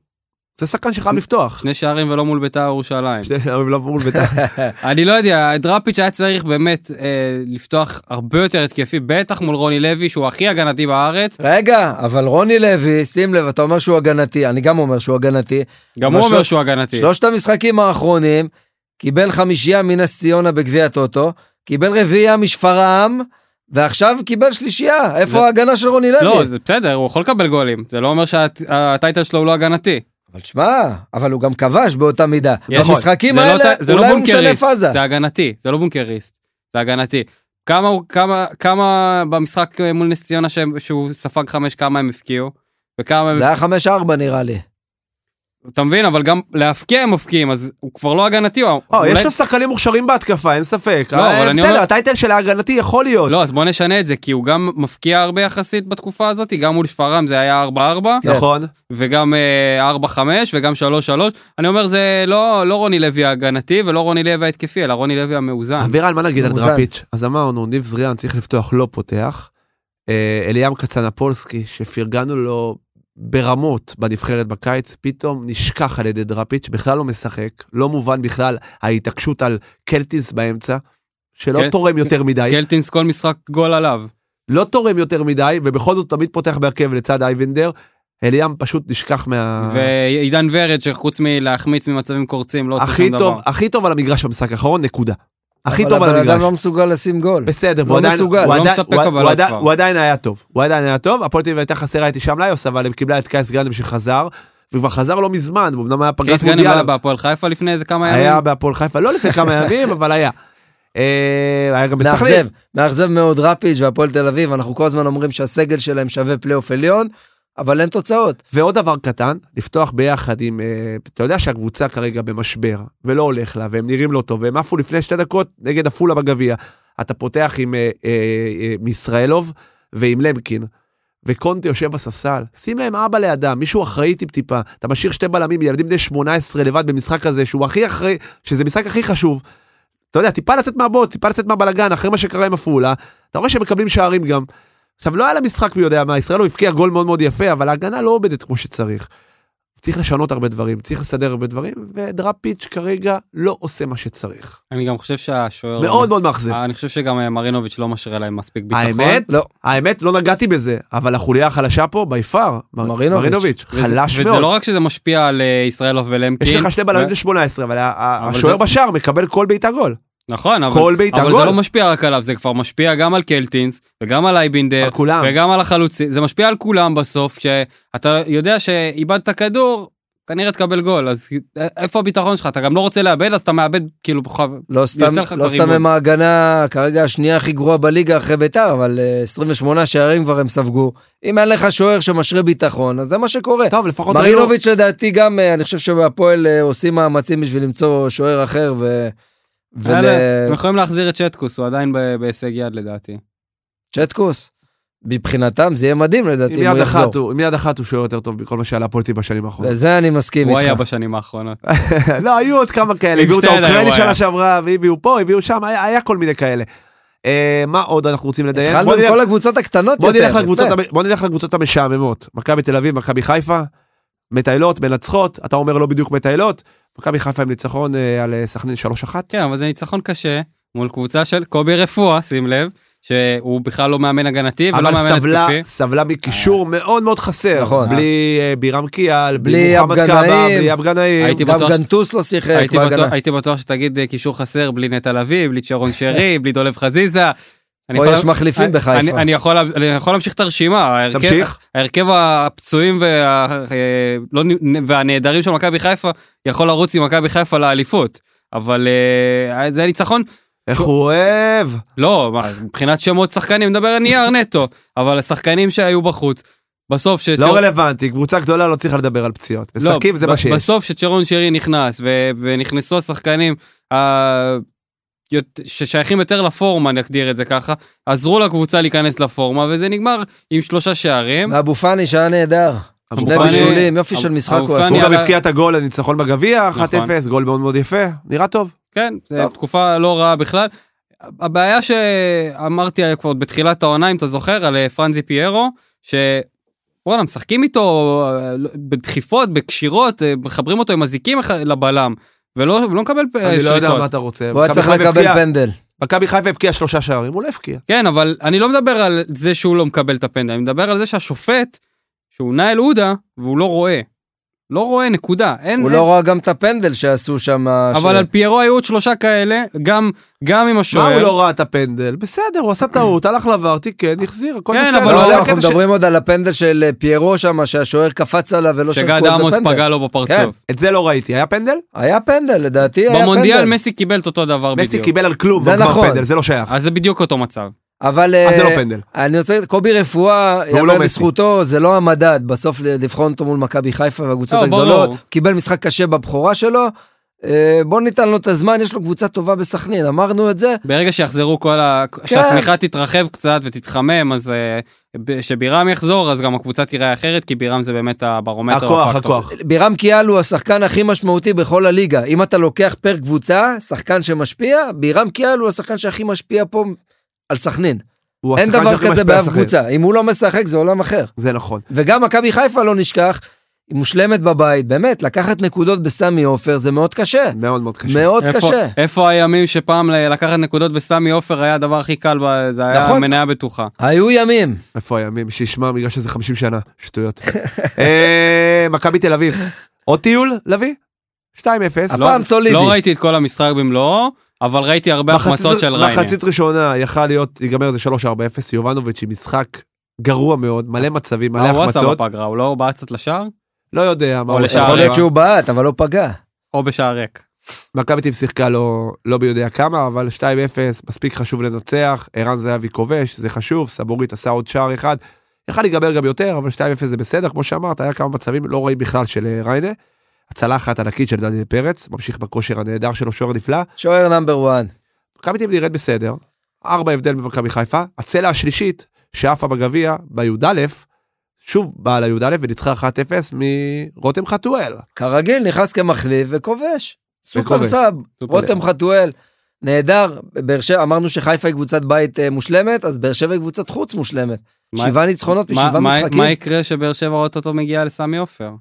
S1: זה שחקן שחייב
S3: שני-
S1: לפתוח.
S3: שני שערים ולא מול בית"ר ירושלים.
S1: שני שערים לא מול בית"ר.
S3: <laughs> אני לא יודע, דראפיץ' היה צריך באמת אה, לפתוח הרבה יותר התקפי, בטח מול רוני לוי, שהוא הכי הגנתי בארץ.
S2: רגע, אבל רוני לוי, שים לב, אתה אומר שהוא הגנתי, אני גם אומר שהוא הגנתי.
S3: גם הוא
S2: אבל
S3: אומר
S2: ש-
S3: שהוא הגנתי.
S2: שלושת המשחקים האחרונים, קיבל חמישייה מנס ציונה בגביע הטוטו, קיבל רביעייה משפרעם, ועכשיו קיבל שלישייה. איפה
S1: זה-
S2: ההגנה של רוני לוי?
S3: לא, זה בסדר, הוא יכול לקבל גולים. זה לא אומר שהטייטל שלו הוא לא הגנתי.
S2: אבל שמע, אבל הוא גם כבש באותה מידה.
S3: יש-
S2: במשחקים
S3: זה לא
S2: האלה,
S3: ט- זה לא
S2: אולי הוא משנה
S3: בונקריסט,
S2: פאזה.
S3: זה הגנתי, זה לא בונקריסט, זה הגנתי. כמה, הוא- כמה, כמה במשחק מול נס ציונה שהם- שהוא ספג חמש, כמה הם הפקיעו? וכמה הם...
S2: זה היה חמש ארבע נראה לי.
S3: אתה מבין, אבל גם להפקיע הם מפקיעים, אז הוא כבר לא הגנתי. הוא-
S1: או, אה, יש
S3: אולי-
S1: לו שחקנים מוכשרים בהתקפה, אין ספק.
S3: לא,
S1: אה,
S3: אבל אני
S1: בסדר,
S3: אומר-
S1: הטייטל של ההגנתי יכול להיות.
S3: לא, אז בוא נשנה את זה, כי הוא גם מפקיע הרבה יחסית בתקופה הזאת, גם מול שפרעם זה היה 4-4,
S2: כן.
S1: נכון.
S3: וגם אה, 4-5, וגם 3-3. אני אומר, זה לא לא רוני לוי ההגנתי ולא רוני לוי ההתקפי, אלא רוני לוי המאוזן.
S1: אבירן, מה נגיד על
S2: מאוזן.
S1: דראפיץ'? אז אמרנו, ניב זריאן צריך לפתוח, לא פותח. אה, אליאם קצנפולסקי, שפרגנו לו ברמות בנבחרת בקיץ, פתאום נשכח על ידי דראפיץ', בכלל לא משחק, לא מובן בכלל ההתעקשות על קלטינס באמצע, שלא
S3: כן.
S1: תורם יותר מדי,
S3: קלטינס כל משחק גול עליו.
S1: לא תורם יותר מדי, ובכל זאת תמיד פותח בהרכב לצד אייבנדר. אליאם פשוט נשכח מה...
S3: ועידן ורד שחוץ מלהחמיץ ממצבים קורצים לא עושה
S1: הכי
S3: שום דבר.
S1: טוב, הכי טוב על המגרש במשחק האחרון, נקודה. הכי טוב על
S2: אבל הבן אדם
S1: המגרש.
S2: לא מסוגל לשים גול.
S1: בסדר,
S2: לא
S1: והוא עדיין-
S2: מסוגל,
S1: הוא
S3: לא
S1: עדיין-
S3: מספק
S1: הוא-
S3: אבל
S1: הוא
S3: עוד
S1: עדיין-
S3: כבר.
S1: הוא עדיין היה טוב, הוא עדיין היה טוב, הפועל תל אביב הייתה חסרה את הישאם ליוס, אבל הם קיבלה את קייס גאנם שחזר, וכבר חזר לא מזמן, הוא אמנם היה פגרת
S3: קייס גאנם
S1: מונדיאל,
S3: היה בהפועל חיפה לפני איזה כמה ימים.
S1: היה בהפועל חיפה, לא לפני כמה ימים, אבל היה. אה, היה גם בסכנין.
S2: מאכזב, מאכזב מאוד רפיג' והפועל תל אביב, אנחנו כל הזמן אומרים שהסגל שלהם שווה פלייאוף עליון, אבל אין תוצאות.
S1: ועוד דבר קטן, לפתוח ביחד עם, אה, אתה יודע שהקבוצה כרגע במשבר, ולא הולך לה, והם נראים לא טוב, והם עפו לפני שתי דקות נגד עפולה בגביע. אתה פותח עם אה, אה, אה, מישראלוב ועם למקין, וקונטה יושב בספסל, שים להם אבא לידם, מישהו אחראי טיפ-טיפה, אתה משאיר שתי בלמים, ילדים בני 18 לבד במשחק הזה, שהוא הכי אחראי, שזה משחק הכי חשוב. אתה יודע, טיפה לצאת מהבוט, טיפה לצאת מהבלגן, אחרי מה שקרה עם עפולה, אתה רואה שהם מקבלים שערים גם. עכשיו, לא היה לה משחק מי יודע מה, ישראל הוא הבקיע גול מאוד מאוד יפה, אבל ההגנה לא עובדת כמו שצריך. צריך לשנות הרבה דברים, צריך לסדר הרבה דברים, ודראפיץ' כרגע לא עושה מה שצריך.
S3: אני גם חושב שהשוער... לא-
S1: מאוד מאוד מאכזב.
S3: אני חושב שגם אה, מרינוביץ' לא משרה להם מספיק ביטחון.
S1: האמת,
S2: לא.
S1: האמת, לא נגעתי בזה, אבל החוליה החלשה פה, בי פאר, מר-
S2: מרינוביץ'.
S1: מרינוביץ',
S3: וזה-
S1: חלש
S3: וזה לא
S1: מאוד.
S3: רק שזה משפיע על אה, ישראלוף ולמקין.
S1: יש לך שני בלמים
S3: ו-
S1: ל-18, אבל ה- ה-
S3: אבל
S1: השוער
S3: זה-
S1: בשער מקבל כל בעיטה גול.
S3: נכון, אבל,
S1: כל בעיטה
S3: אבל
S1: גול.
S3: זה לא משפיע רק עליו, זה כבר משפיע גם על קלטינס, וגם על אייבינדר,
S1: על כולם.
S3: וגם על החלוצים, זה משפיע על כולם בסוף, שאתה יודע שאיבדת כדור, כנראה תקבל גול, אז אה, איפה הביטחון שלך? אתה גם לא רוצה לאבד, אז אתה מאבד כאילו כוכב.
S2: לא סתם,
S3: יוצא לך
S2: לא
S3: כבר
S2: סתם
S3: אימון.
S2: הם ההגנה כרגע השנייה הכי גרועה בליגה אחרי ביתר, אבל אה, 28 שערים כבר הם ספגו. אם אין לך שוער שמשרה ביטחון, אז זה מה שקורה.
S1: טוב, לפחות לא- ראינו-
S2: מרינוביץ' לדעתי גם, אה, אני חושב שבהפועל אה, עושים מאמצים בשביל למצוא שוער אחר ו... ול... אה,
S3: יאללה, נכון. הם יכולים להחזיר את שטקוס, הוא עדיין ב- בהישג יד לדעתי.
S2: צ'טקוס. מבחינתם זה יהיה מדהים לדעתי
S1: עם
S2: אם הוא
S1: יד אחת
S2: יחזור.
S1: הוא- עם יד אחת הוא שוער יותר טוב מכל מה שעלה פוליטי בשנים האחרונות.
S2: וזה אני מסכים
S3: נכון. הוא היה
S2: איתך.
S3: בשנים האחרונות.
S1: <laughs> לא, היו עוד כמה כאלה,
S3: עם
S1: הביאו את
S3: שטרן
S1: האוקראיני
S3: הוא היה.
S1: שנה שעברה, והביאו פה, הביאו שם, היה היה כל מיני כאלה. אה, מה עוד אנחנו רוצים לדייק?
S2: התחלנו
S1: בוא
S2: עם
S1: נלך-
S2: כל הקבוצות הקטנות
S1: בוא
S2: יותר.
S1: נלך
S2: יפה.
S1: לקבוצות המ- בוא נלך לקבוצות המשעממות. מכבי תל אביב, מכבי חיפה, מטיילות, מנצחות, אתה אומר לא בדיוק מטיילות. מכבי חיפה עם ניצחון אה, על אה, סכנין 3-1.
S3: כן, אבל זה ניצחון קשה מול קבוצה של קובי רפואה, שים לב, שהוא בכלל לא מאמן הגנתי ולא מאמן
S1: אבל סבלה,
S3: התקפי.
S1: סבלה מקישור מאוד מאוד חסר.
S2: נכון.
S1: בלי אה, בירם קיאל,
S2: בלי
S1: בלי מוחמד
S2: אבגנאים.
S1: קאבה, בלי אב גנאים.
S3: הייתי
S2: גם
S3: בטוח ש-
S2: גנטוס לא שיחק
S3: הייתי
S2: בהגנה.
S3: בטוח- הייתי בטוח שתגיד אה, קישור חסר בלי נטע לביא, בלי צ'רון
S2: <laughs>
S3: שרי, בלי דולב חזיזה. אני
S2: פה
S3: יכול-
S2: יש מחליפים
S3: אני-
S2: בחיפה.
S3: אני- אני יכול לה- אני יכול להמשיך את הרשימה. ההרכב-
S1: תמשיך.
S3: ההרכב הפצועים וה- אה, לא נ- והנעדרים של מכבי חיפה יכול לרוץ עם מכבי חיפה לאליפות. אבל אה, זה ניצחון
S1: איך הוא אוהב.
S3: לא, מה, מבחינת שמות שחקנים, מדבר על נייר נטו, אבל השחקנים שהיו בחוץ, בסוף ש...
S1: לא רלוונטי, קבוצה גדולה לא צריכה לדבר על פציעות. משחקים זה מה שיש.
S3: לא, בסוף שצ'רון שרי נכנס, ו... ונכנסו השחקנים ה... יות- ששייכים יותר לפורמה, נגדיר את זה ככה, עזרו לקבוצה להיכנס לפורמה, וזה נגמר עם שלושה שערים.
S2: ואבו פאני שהיה נהדר.
S1: אבו
S2: שני
S1: פאני-
S2: בישולים, יופי
S3: אבו-
S2: של משחק
S3: אבו
S2: הוא עשה.
S3: פאני
S1: הוא גם
S3: על ה- נכון.
S1: הבקיע את הגול לניצחון בגביע, 1-0, גול מאוד מאוד יפה, נראה טוב.
S3: כן, זו
S1: טוב.
S3: תקופה לא רעה בכלל. הבעיה שאמרתי כבר בתחילת העונה, אם אתה זוכר, על אה, פרנזי פיירו, ש... וואלה, משחקים איתו אה, לא- בדחיפות, בקשירות, אה, מחברים אותו עם אזיקים אחד לבלם, ולא ולא מקבל אה,
S1: אני לא יודע מה
S3: שריקות.
S1: אתה רוצה.
S2: הוא היה
S1: מכבי
S2: צריך
S1: חיפה
S2: לקבל
S1: הבקיעה-
S2: פנדל.
S1: מכבי חיפה הבקיעה שלושה שערים, הוא לא הבקיע.
S3: כן, אבל אני לא מדבר על זה שהוא לא מקבל את הפנדל, אני מדבר על זה שהשופט, שהוא נאל עודה, והוא לא רואה. לא רואה, נקודה. אין,
S2: הוא
S3: אין-
S2: לא ראה גם את הפנדל שעשו שם.
S3: אבל
S2: ש- לא,
S3: על פיירו היו עוד שלושה כאלה, גם, גם עם השוער.
S1: מה הוא לא ראה את הפנדל? בסדר, הוא עשה טעות, הלך לבר, תיקן, החזיר, הכל
S3: כן,
S1: בסדר.
S3: אבל
S2: לא,
S1: זה
S2: לא,
S1: הקטע
S2: אנחנו
S1: ש-
S2: מדברים עוד על הפנדל של אה, פיירו שם, שהשוער קפץ עליו
S1: לא
S2: ולא שלחו
S3: שגד
S2: את
S3: עמוס
S2: זה פנדל.
S3: פגע לו
S2: כן.
S3: בפרצוף.
S1: את זה לא ראיתי, היה פנדל?
S2: היה פנדל, לדעתי היה
S3: במונדיאל
S2: פנדל.
S3: מסי קיבל את אותו דבר
S1: אה, מסי
S3: לא בדיוק.
S1: קיבל על כלום,
S2: זה
S1: והוא כבר
S2: נכון.
S1: פנדל, זה לא שייך.
S3: אז זה בדיוק אותו מצב.
S2: אבל
S1: אז זה
S2: אה,
S1: לא פנדל.
S2: אני רוצה, קובי רפואה,
S1: והוא לא
S2: יאמר
S1: מסי.
S2: לזכותו, זה לא המדד, בסוף ל- לבחון אותו מול מכבי חיפה והקבוצות
S3: לא,
S2: הגדולות,
S3: ברור.
S2: קיבל משחק קשה בבכורה שלו, אה, בוא ניתן לו את הזמן, יש לו קבוצה טובה בסכנין, אמרנו את זה,
S3: ברגע שיחזרו כל ה...
S1: כן.
S3: שהשמיכה תתרחב קצת ותתחמם, אז אה, ב- שבירם יחזור, אז גם הקבוצה תיראה אחרת, כי בירם זה באמת הברומטר.
S1: הכוח,
S3: הפקטור.
S1: הכוח.
S2: בירם קיאל הוא השחקן הכי משמעותי בכל הליגה. אם אתה לוקח פר קבוצה, שחקן שמשפיע, בירם קיאל הוא השחקן שהכי משפיע פה על סכנין.
S1: הוא
S2: אין
S1: השחקן
S2: דבר
S1: שהכי
S2: כזה
S1: משפיע על
S2: באף
S1: השחקן.
S2: קבוצה. אם הוא לא משחק זה עולם אחר.
S1: זה נכון.
S2: וגם מכבי חיפה לא נשכח, היא מושלמת בבית, באמת, לקחת נקודות בסמי עופר זה מאוד קשה.
S1: מאוד מאוד קשה.
S2: מאוד
S3: איפה-
S2: קשה.
S3: איפה הימים שפעם ל- לקחת נקודות בסמי עופר היה הדבר הכי קל, ב- זה היה
S2: נכון.
S3: מניה בטוחה.
S2: היו ימים.
S1: איפה הימים שישמע בגלל שזה 50 שנה, שטויות. <laughs> אה, מכבי תל אביב, עוד טיול, לביא? 2-0.
S2: לא, פעם סולידי.
S3: לא ראיתי את כל המשחק במלואו, אבל ראיתי הרבה
S1: מחצית-
S3: החמצות של ריינה.
S1: מחצית ראשונה יכל להיות, ייגמר איזה 3-4-0, יובנוביץ' עם משחק גרוע מאוד, מלא מצבים, מלא
S3: מה אה, הוא עשה
S1: החמצות,
S3: בפגרה? הוא לא בעט קצת לשער?
S1: לא יודע מה הוא
S3: לשער
S1: עשה.
S2: יכול להיות
S3: רבע.
S2: שהוא בעט, אבל לא פגע.
S3: או בשער ריק?
S1: מכבי טיב שיחקה לא, לא בי יודע כמה, אבל 2-0, מספיק חשוב לנצח, ערן זהבי כובש, זה חשוב, סבורית עשה עוד שער אחד. יכל להיגמר גם יותר, אבל 2-0 זה בסדר, כמו שאמרת, היה כמה מצבים לא רעים בכלל של אה, ריינה. הצלה אחת ענקית של דניאל פרץ, ממשיך בכושר הנהדר שלו, שוער נפלא.
S2: שוער נאמבר 1.
S1: מכבי תל אביב נראית בסדר, ארבע הבדל ממכבי חיפה, הצלע השלישית שעפה בגביע בי"א, שוב באה לי"א וניצחה 1-0 מרותם חתואל.
S2: אה, כרגיל, נכנס כמחליף וכובש. סופר
S1: וכובש.
S2: סאב,
S3: סופר
S2: רותם חתואל, נהדר. באר שבע, אמרנו שחיפה היא קבוצת בית אה, מושלמת, אז באר שבע היא קבוצת חוץ מושלמת.
S3: מה-
S2: שבעה ניצחונות
S3: מה-
S2: משבעה
S3: מה-
S2: משחקים.
S3: מה יקרה שבאר שבע אוטוטו מגיעה לסמי עופר?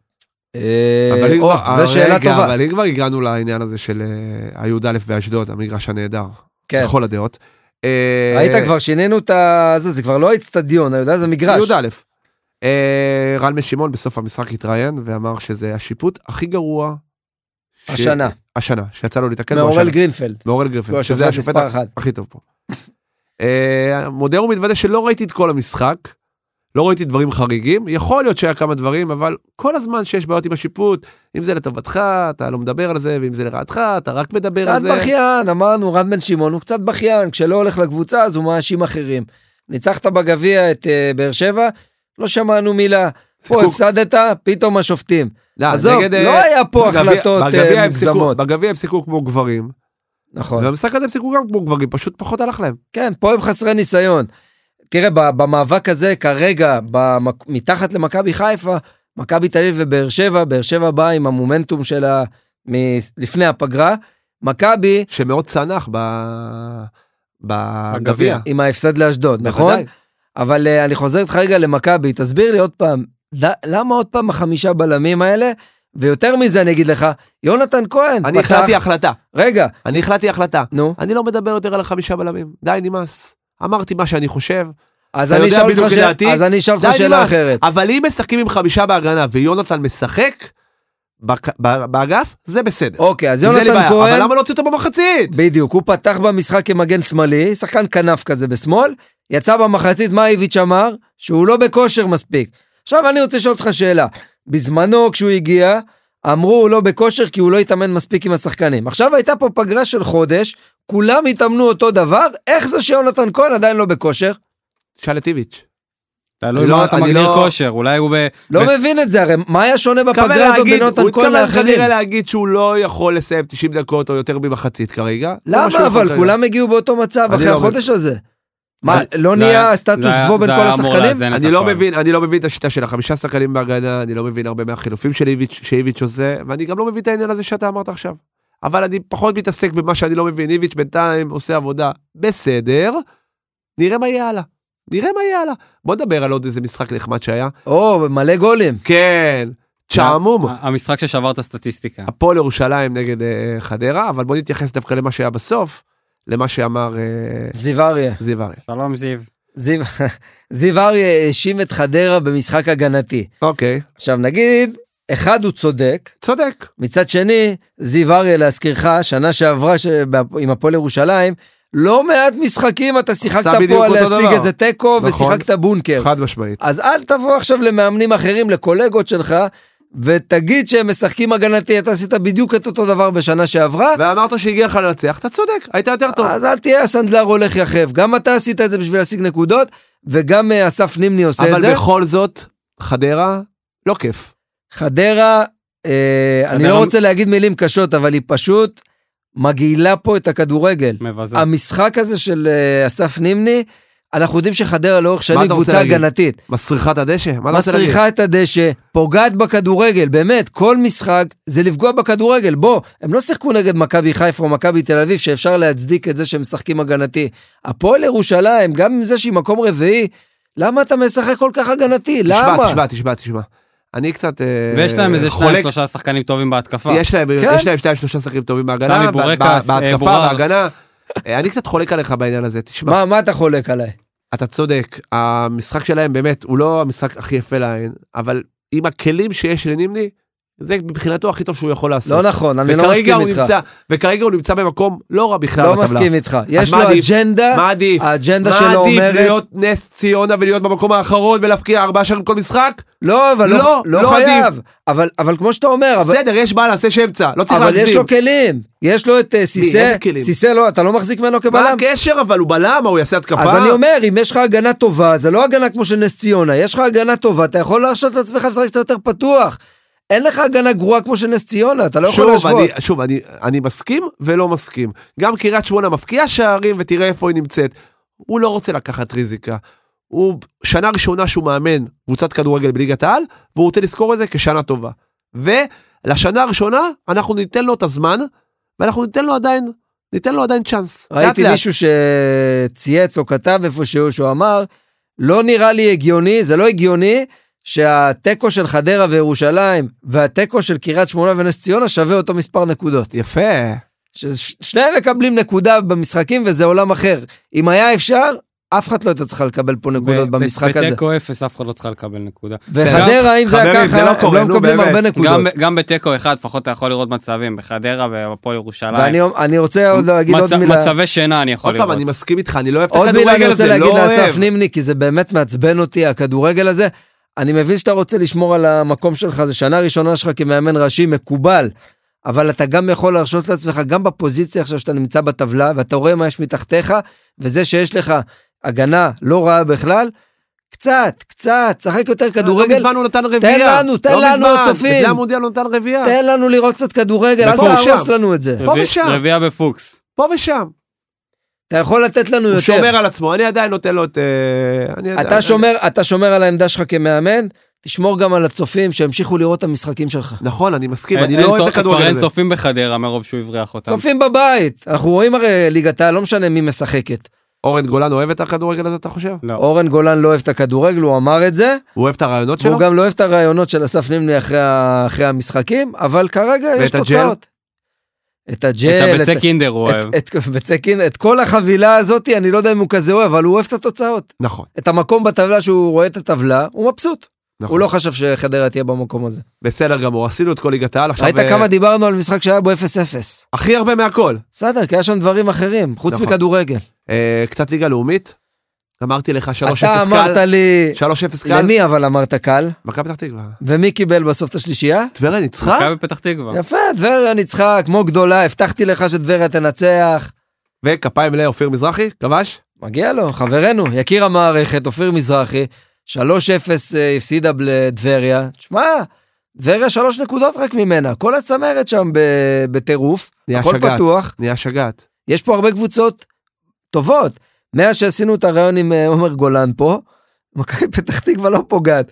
S2: אה,
S1: אבל אם
S2: או,
S1: כבר-
S2: זו שאלה
S1: רגע,
S2: טובה.
S1: אבל אם כבר הגענו לעניין הזה של אה, הי"א באשדוד, המגרש הנהדר,
S2: כן.
S1: לכל הדעות. אה,
S2: ראית כן. כבר שינינו את ה... זה, זה כבר לא האיצטדיון, אתה יודע, זה מגרש.
S1: י"א. אה, רן בן שמעון בסוף המשחק התראיין ואמר שזה השיפוט הכי גרוע ש-
S2: השנה,
S1: השנה, שיצא לו להתקל בו
S2: מאורל
S1: השנה.
S2: גרינפלד,
S1: מאורל גרפל.
S2: הוא השופט מספר אחת.
S1: הכי טוב פה. אה, מודה ומתוודה שלא ראיתי את כל המשחק, לא ראיתי דברים חריגים, יכול להיות שהיה כמה דברים, אבל כל הזמן שיש בעיות עם השיפוט, אם זה לטובתך, אתה לא מדבר על זה, ואם זה לרעתך, אתה רק מדבר
S2: קצת
S1: על זה.
S2: בכיין, אמרנו, רן בן שמעון הוא קצת בכיין, כשלא הולך לקבוצה אז הוא מאשים אחרים. ניצחת בגביע את אה, באר שבע, לא שמענו מילה. פה
S1: שיחקו-
S2: הפסדת, פתאום השופטים.
S1: לא,
S2: עזוב,
S1: נגד,
S2: לא
S1: אה,
S2: היה פה
S1: בגביע-
S2: החלטות
S1: בגביע
S2: אה,
S1: הם שיחקו-
S2: מוגזמות.
S1: בגביע הם שיחקו כמו גברים,
S2: נכון.
S1: והמשחק הזה הם שיחקו גם כמו גברים, פשוט פחות הלך להם.
S2: כן, פה הם חסרי ניסיון. תראה, ב- במאבק הזה כרגע, במק... מתחת למכבי חיפה, מכבי תל אביב ובאר שבע, באר שבע באה עם המומנטום שלה מ- לפני הפגרה. מכבי
S1: שמאוד צנח ב... בגביע.
S2: עם ההפסד לאשדוד, נכון?
S1: בוודאי.
S2: אבל אה, אני חוזר איתך רגע למכבי, תסביר לי עוד פעם, ד- למה עוד פעם החמישה בלמים האלה? ויותר מזה אני אגיד לך, יונתן כהן
S1: אני החלטתי החלטה,
S2: רגע,
S1: אני החלטתי החלטה.
S2: נו,
S1: אני לא מדבר יותר על החמישה בלמים, די נמאס. אמרתי מה שאני חושב,
S2: אז
S1: אתה
S2: אני
S1: יודע
S2: אשאל
S1: בדיוק
S2: אותך
S1: את
S2: שאלה-
S1: דעתי?
S2: אז אני אשאל אותך
S1: די
S2: שאלה
S1: נמאס.
S2: אחרת.
S1: אבל אם משחקים עם חמישה בהגנה ויונתן משחק בק- ב- באגף, זה בסדר.
S2: אוקיי, אז
S1: עם זה אין לי
S2: יונתן
S1: בעיה,
S2: כהן,
S1: אבל למה להוציא אותו במחצית?
S2: בדיוק, הוא פתח במשחק כמגן שמאלי, שחקן כנף כזה בשמאל, יצא במחצית, מה איביץ' אמר? שהוא לא בכושר מספיק. עכשיו אני רוצה לשאול אותך שאלה. בזמנו, כשהוא הגיע, אמרו הוא לא בכושר כי הוא לא התאמן מספיק עם השחקנים. עכשיו הייתה פה פגרה של חודש, כולם התאמנו אותו דבר, איך זה שיונתן כהן עדיין לא בכושר?
S1: תשאל את איביץ'.
S3: תלוי
S1: לא,
S3: מה אתה
S1: אני
S3: מגדיר
S1: לא-
S3: כושר, אולי הוא ב...
S2: לא
S3: ב-
S2: מבין את זה, הרי מה היה שונה
S1: התכוון
S2: בפגרה הזאת
S1: להגיד-
S2: בין יונתן
S1: הוא
S2: כהן
S1: התכוון
S2: לאחרים?
S1: כנראה להגיד שהוא לא יכול לסיים 90 דקות או יותר ממחצית כרגע. זה מה שהוא
S2: למה
S1: יכול
S2: אבל?
S1: כרגע.
S2: כולם הגיעו באותו מצב
S1: אני
S2: אחרי
S1: לא
S2: החודש הזה. מה,
S1: אני-
S2: לא
S3: זה היה-
S2: נהיה סטטוס
S3: זה היה-
S2: קוו בין
S3: זה
S2: כל
S3: היה אמור
S2: השחקנים?
S3: לאזן את
S1: אני לא
S3: הכל.
S1: מבין, אני לא מבין את השיטה של החמישה שחקנים בהגנה, אני לא מבין הרבה מהחילופים של איביץ' שאיביץ' עושה, ואני גם לא מבין את העניין הזה שאתה אמרת עכשיו. אבל אני פחות מתעסק במה שאני לא מבין, איביץ' בינתיים עושה עבודה בסדר, נראה מה יהיה הלאה. נראה מה יהיה הלאה. בוא נדבר על עוד איזה משחק נחמד שהיה.
S2: או, מלא גולים.
S1: כן, צ'עמום.
S3: ה- המשחק ששבר את הסטטיסטיקה.
S1: הפועל ירושלים נגד אה, חדרה, אבל בוא נתייחס דווקא למה שהיה בסוף, למה שאמר אה,
S2: זיו אריה.
S1: זיו אריה.
S3: שלום זיו.
S2: זיו- <laughs> זיו אריה האשים את חדרה במשחק הגנתי.
S1: אוקיי,
S2: עכשיו נגיד, אחד הוא צודק,
S1: צודק.
S2: מצד שני, זיו אריה להזכירך, שנה שעברה ש... בה- עם הפועל ירושלים, לא מעט משחקים אתה שיחקת
S1: בדיוק
S2: פה על
S1: אותו
S2: להשיג
S1: דבר.
S2: איזה תיקו
S1: נכון.
S2: ושיחקת בונקר.
S1: חד משמעית.
S2: אז אל תבוא עכשיו למאמנים אחרים, לקולגות שלך, ותגיד שהם משחקים הגנתי, אתה עשית בדיוק את אותו דבר בשנה שעברה,
S1: ואמרת שהגיע לך לנצח, אתה צודק, היית יותר טוב.
S2: אז אל תהיה הסנדלר הולך יחף. גם אתה עשית את זה בשביל להשיג נקודות, וגם אה, אסף נימני עושה את זה.
S1: אבל בכל זאת, חדרה, לא כיף.
S2: חדרה, אה, אני
S3: חדרה-
S2: לא רוצה להגיד מילים קשות, אבל היא פשוט מגעילה פה את הכדורגל.
S3: מבזה.
S2: המשחק הזה של אה, אסף נימני, אנחנו יודעים שחדרה לאורך
S1: מה
S2: שנים
S1: אתה רוצה
S2: קבוצה
S1: להגיד?
S2: הגנתית.
S1: מסריחה את הדשא? מה אתה רוצה להגיד?
S2: מסריחה את הדשא, פוגעת בכדורגל, באמת, כל משחק זה לפגוע בכדורגל. בוא, הם לא שיחקו נגד מכבי חיפה או מכבי תל אביב, שאפשר להצדיק את זה שהם משחקים הגנתי. הפועל ירושלים, גם עם זה שהיא מקום רביעי, למה אתה משחק כל כך הגנתי? למה?
S1: תשמע, תשמע, תשמע, תשמע. אני קצת אה,
S3: ויש להם איזה שניים
S1: חולק.
S3: שלושה שחקנים טובים בהתקפה.
S1: יש להם,
S2: כן.
S1: יש להם שניים שלושה שחקנים טובים בהגנה,
S3: סמי
S1: ב-
S3: בורקס,
S1: ב- בהתקפה,
S3: אה, בורר.
S1: בהגנה. אה, אני קצת חולק עליך בעניין הזה, תשמע,
S2: מה, מה אתה חולק עליי?
S1: אתה צודק, המשחק שלהם באמת הוא לא המשחק הכי יפה לעין, אבל עם הכלים שיש לנימני, זה מבחינתו הכי טוב שהוא יכול לעשות.
S2: לא נכון, אני לא
S1: וכרגע
S2: מסכים
S1: הוא
S2: איתך.
S1: נמצא- וכרגע הוא נמצא במקום לא רע בכלל
S2: לא
S1: בטבלה.
S2: מסכים איתך. יש
S1: מה
S2: לו
S1: עדיף?
S2: אג'נדה,
S1: מה עדיף?
S2: האג'נדה
S1: מה
S2: שלו
S1: עדיף
S2: אומרת...
S1: להיות נס ציונה ולהיות במקום האחרון ולהפקיע ארבעה שערים כל משחק?
S2: לא, אבל לא
S1: לא,
S2: לא
S1: לא
S2: חייב. אבל- אבל כמו שאתה אומר, אבל-
S1: בסדר, יש בעל עשה שאמצע, לא צריך
S2: אבל יש
S1: להגזים.
S2: לו כלים. יש לו את אה, סיסא,
S1: איזה כלים?
S2: סיסא לא, אתה לא מחזיק ממנו
S1: מה כן,
S2: כבלם.
S1: הקשר אבל הוא בלם, מה, הוא יעשה התקפה?
S2: אז אני אומר, אם יש לך הגנה טובה, זה לא הגנה כמו של נס ציונה, יש לך הגנה טובה, אתה יכול להרשות לעצמך לשחק קצת יותר פתוח. אין לך הגנה גרועה כמו של נס ציונה, אתה לא יכול
S1: שוב,
S2: להשוות.
S1: אני, שוב אני, אני מסכים ולא מסכים. גם קריית שמונה מפקיעה שערים ותראה איפה היא נמצאת. הוא לא רוצה לקחת ריזיקה. הוא שנה ראשונה שהוא מאמן קבוצת כדורגל בליגת העל, והוא רוצה לזכור את זה כשנה טובה. ולשנה הראשונה אנחנו ניתן לו את הזמן, ואנחנו ניתן לו עדיין, ניתן לו עדיין צ'אנס.
S2: ראיתי
S1: לאט-לאט.
S2: מישהו שצייץ או כתב איפשהו שהוא אמר, לא נראה לי הגיוני, זה לא הגיוני שהתיקו של חדרה וירושלים והתיקו של קריית שמונה ונס ציונה שווה אותו מספר נקודות.
S1: יפה.
S2: ששניהם מקבלים נקודה במשחקים וזה עולם אחר. אם היה אפשר, אף אחת לא הייתה צריכה לקבל פה נקודות
S3: ב-
S2: במשחק הזה.
S3: בתיקו אפס אף אחד לא צריכה לקבל נקודה.
S2: וחדרה, אם זה היה
S1: חברים, זה לא
S2: ככה, הם
S1: קורה,
S2: לא
S1: נו,
S2: מקבלים
S1: באמת.
S2: הרבה נקודות.
S3: גם, גם בתיקו אחד לפחות אתה יכול לראות מצבים בחדרה והפועל ירושלים.
S2: ואני אני רוצה עוד להגיד עוד
S3: מצ-
S2: מילה.
S3: מצבי שינה אני יכול
S1: עוד פעם, אני
S3: לראות.
S1: מסכים איתך, אני לא אוהב את
S2: עוד מילה אני
S1: הכדורגל
S2: רוצה
S1: הזה,
S2: להגיד
S1: לא
S2: לאסף
S1: אוהב.
S2: נימני, כי זה באמת מעצבן אותי, הכדורגל הזה. אני מבין שאתה רוצה לשמור על המקום שלך, זה שנה ראשונה שלך כמאמן ראשי, מקובל. אבל אתה גם יכול להרשות לעצמך, גם בפוזיציה עכשיו שאתה נמצא בטבלה, ואתה רואה מה יש מתחתיך, וזה שיש לך הגנה לא רעה בכלל, קצת, קצת, שחק יותר
S1: לא
S2: כדורגל,
S1: מזמן הוא נתן רביעייה.
S2: לנו, תן
S1: לא
S2: לנו,
S1: מזמן.
S2: הצופים.
S1: לפני המונדיאל הוא נתן רביעייה.
S2: תן לנו לראות קצת כדורגל, אל
S1: פה
S2: תהרוס
S1: ושם.
S2: לנו את זה.
S1: פה ושם.
S3: רביעייה בפוקס.
S1: פה ושם.
S2: אתה יכול לתת לנו
S1: הוא
S2: יותר.
S1: שומר על עצמו, אני עדיין נותן לו את... אה, אני עדיין-
S2: אתה שומר, אתה שומר על העמדה שלך כמאמן, תשמור גם על הצופים שימשיכו לראות את המשחקים שלך.
S1: נכון, אני מסכים,
S3: אין-
S1: אני
S3: אה, אין
S1: לא אוהב את
S3: צופ- כבר
S1: הכדורגל
S3: אין
S1: הזה.
S3: צופים בחדרה מרוב שהוא הבריח אותם.
S2: צופים בבית, אנחנו רואים הרי ליגת העל, לא משנה מי משחקת.
S1: אורן גולן אוהב את הכדורגל הזה, אתה חושב?
S3: לא.
S2: אורן גולן לא אוהב את הכדורגל, הוא אמר את זה,
S1: הוא אוהב את הרעיונות שלו?
S2: והוא גם לא אוהב את הרעיונות של אסף נימני אחרי ה- אחרי המשחקים, אבל כרגע יש
S1: ואת הג'ל?
S2: תוצאות. את
S3: את
S2: הג'ל,
S3: הביצי קינדר הוא אוהב.
S2: את- את- בצקין, את כל החבילה הזאת, אני לא יודע אם הוא כזה אוהב, אבל הוא אוהב את התוצאות.
S1: נכון,
S2: את המקום בטבלה שהוא רואה את הטבלה, הוא מבסוט. הוא
S1: נכון.
S2: לא חשב שחדרה תהיה במקום הזה.
S1: בסדר גמור, עשינו את כל ליגת העל. עכשיו,
S2: ראית
S1: אה,
S2: כמה דיברנו על משחק שהיה בו 0-0.
S1: הכי הרבה מהכל.
S2: בסדר, כי היה שם דברים אחרים, חוץ
S1: נכון.
S2: מכדורגל.
S1: אה, קצת ליגה לאומית. אמרתי לך 3-0
S2: אתה אמרת
S1: קל.
S2: לי,
S1: 3-0 קל.
S2: למי אבל אמרת קל,
S1: מכבי פתח תקווה.
S2: ומי קיבל בסוף את השלישייה?
S1: טבריה ניצחה?
S3: מכבי פתח תקווה.
S2: יפה, טבריה ניצחה כמו גדולה, הבטחתי לך שטבריה תנצח.
S1: וכפיים לאופיר מזרחי, כבש?
S2: מגיע לו, חברנו, יקיר המערכת, אופיר מזרחי, 3-0 אה, הפסידה לטבריה. תשמע, טבריה שלוש נקודות רק ממנה, כל הצמרת שם ב- בטירוף,
S1: נהיה
S2: הכל
S1: שגעת.
S2: פתוח.
S1: נהיה שגעת.
S2: יש פה הרבה קבוצות טובות. מאז שעשינו את הרעיון עם אה, עומר גולן פה, מכבי פתח תקווה לא פוגעת.